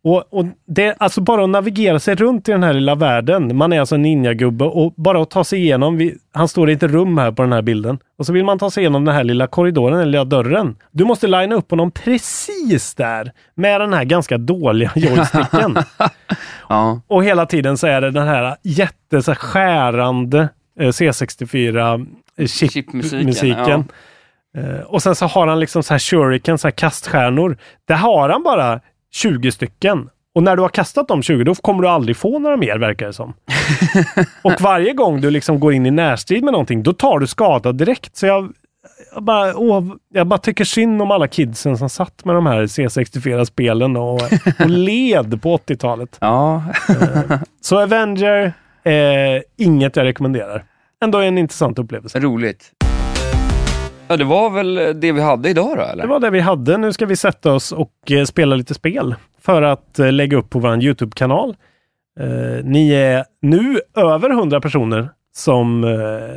S2: Och, och det, alltså bara att navigera sig runt i den här lilla världen. Man är alltså en ninjagubbe och bara att ta sig igenom. Vi, han står i ett rum här på den här bilden. Och så vill man ta sig igenom den här lilla korridoren, eller lilla dörren. Du måste linea upp honom precis där med den här ganska dåliga joysticken.
S3: Ja.
S2: Och hela tiden så är det den här jätte så här, skärande eh,
S3: Chipmusiken,
S2: C64-chipmusiken.
S3: ja.
S2: Eh, Och sen så har han liksom så här shuriken, så här kaststjärnor. Där har han bara 20 stycken. Och när du har kastat de 20, då kommer du aldrig få några mer, verkar det som. Och varje gång du liksom går in i närstrid med någonting, då tar du skada direkt. Så jag, jag, bara, åh, jag bara tycker synd om alla kidsen som satt med de här C64-spelen och, och led på 80-talet.
S3: ja.
S2: Så Avenger, eh, inget jag rekommenderar. Ändå en intressant upplevelse.
S3: Roligt. Ja, det var väl det vi hade idag då, eller?
S2: Det var det vi hade. Nu ska vi sätta oss och eh, spela lite spel för att eh, lägga upp på vår YouTube-kanal. Eh, ni är nu över 100 personer som eh,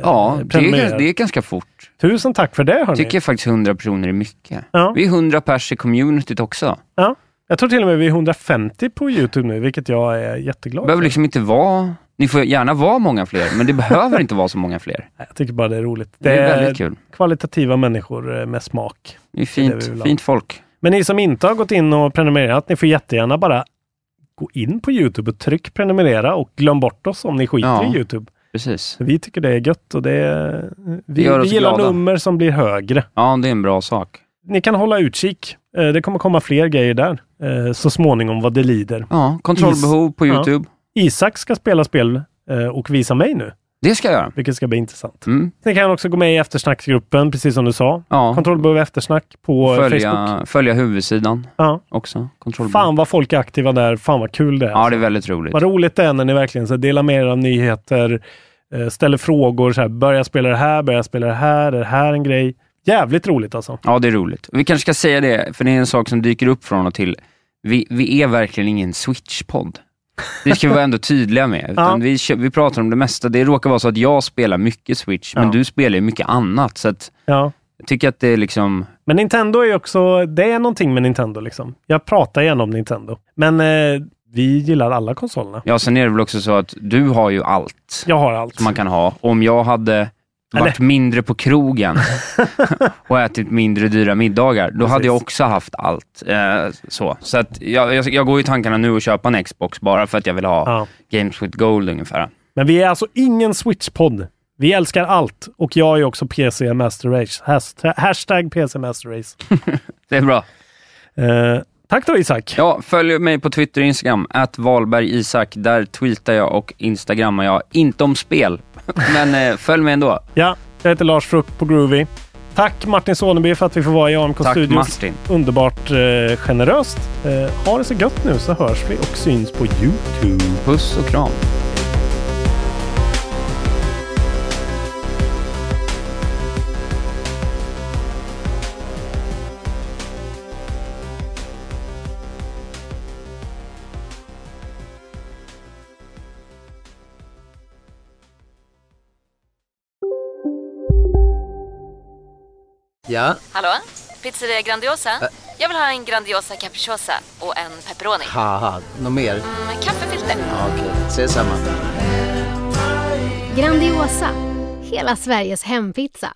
S3: ja, det är,
S2: prenumererar.
S3: det är ganska fort.
S2: Tusen tack för det hörni.
S3: Tycker jag faktiskt 100 personer är mycket.
S2: Ja.
S3: Vi är 100 pers i communityt också.
S2: Ja. Jag tror till och med vi är 150 på YouTube nu, vilket jag är jätteglad
S3: Det behöver
S2: för.
S3: liksom inte vara... Ni får gärna vara många fler, men det behöver inte vara så många fler.
S2: Jag tycker bara det är roligt.
S3: Det är väldigt kul.
S2: kvalitativa människor eh, med smak.
S3: Det är
S2: det vi vill
S3: fint,
S2: ha.
S3: fint folk.
S2: Men ni som inte har gått in och prenumererat, ni får jättegärna bara gå in på YouTube och tryck prenumerera och glöm bort oss om ni skiter
S3: Ja.
S2: i YouTube.
S3: Precis.
S2: Vi tycker det är gött och det är, vi,
S3: gör
S2: vi
S3: oss
S2: gillar
S3: glada.
S2: nummer som blir högre.
S3: Ja, det är en bra sak.
S2: Ni kan hålla utkik. Eh, Det kommer komma fler grejer där eh, så småningom vad det lider.
S3: Ja, kontrollbehov på
S2: Ja.
S3: YouTube.
S2: Isak ska spela spel eh, och visa mig nu,
S3: Det ska jag göra.
S2: vilket ska bli intressant.
S3: Mm.
S2: Ni kan också gå med i eftersnacksgruppen, precis som du sa.
S3: Ja.
S2: Kontrollbehov eftersnack på Facebook.
S3: Följa, följa huvudsidan
S2: Ja.
S3: också. Kontrollbehov.
S2: Fan vad folk är aktiva där. Fan vad kul det är. alltså.
S3: Ja, det är väldigt roligt.
S2: Vad roligt det är när ni verkligen så här, delar med er av nyheter, eh, ställer frågor, så här, börja spela det här, börja spela det här, är det här en grej? Jävligt roligt alltså.
S3: Ja, det är roligt. Vi kanske ska säga det, för det är en sak som dyker upp från och till. Vi, vi är verkligen ingen switch-podd. Det ska vi vara ändå tydliga med. Utan
S2: Ja.
S3: vi, kö- vi pratar om det mesta. Det råkar vara så att jag spelar mycket switch, men
S2: Ja.
S3: du spelar ju mycket annat. Så att
S2: Ja.
S3: jag tycker att det är liksom...
S2: Men Nintendo är ju också, det är någonting med Nintendo liksom. Jag pratar gärna om Nintendo. Men eh, vi gillar alla konsolerna.
S3: Ja, sen är det väl också så att du har ju allt
S2: Jag har allt.
S3: som man kan ha. Om jag hade varit mindre på krogen och ätit mindre dyra middagar, då hade jag också haft allt. Eh, så så att jag, jag, jag går ju i tankarna nu att köpa en Xbox bara för att jag vill ha
S2: Ja.
S3: Games with Gold ungefär.
S2: Men vi är alltså ingen Switch-podd. Vi älskar allt. Och jag är också PC Master Race. Hashtag, hashtag PC Master Race.
S3: Det är bra.
S2: Eh, tack då Isak.
S3: Ja, följ mig på Twitter och Instagram, att Valberg Isak. Där tweetar jag och instagrammar jag, inte om spel. Men eh, följ mig ändå.
S2: Ja, jag heter Lars Fruck på Groovy. Tack Martin Soneby för att vi får vara i AMK
S3: Tack,
S2: Studios.
S3: Martin.
S2: Underbart eh, generöst. Eh, ha det så gött nu så hörs vi och syns på YouTube.
S3: Puss och kram.
S8: Ja,
S9: Hallå? Pizzeria Grandiosa? Jag vill ha en Grandiosa capriciosa och en pepperoni.
S8: haha, något mer?
S9: Med kaffefilter.
S8: Ja, Okej, ses samma.
S10: Grandiosa, hela Sveriges hempizza.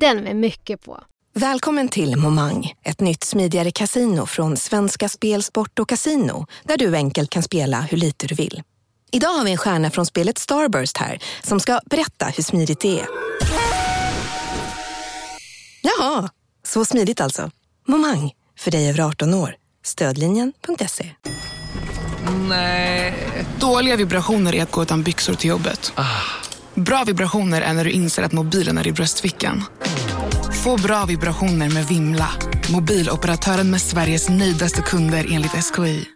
S10: Den med mycket på.
S4: Välkommen till Momang, ett nytt smidigare kasino från Svenska Spel, Sport och Casino där du enkelt kan spela hur lite du vill. Idag har vi en stjärna från spelet Starburst här som ska berätta hur smidigt det är. Jaha, så smidigt alltså. Momang, för dig över 18 år. Stödlinjen.se.
S11: Nej. Dåliga vibrationer är att gå utan byxor till jobbet. Bra vibrationer är när du inser att mobilen är i bröstfickan. Få bra vibrationer med Vimla. Mobiloperatören med Sveriges nöjdaste kunder enligt SKI.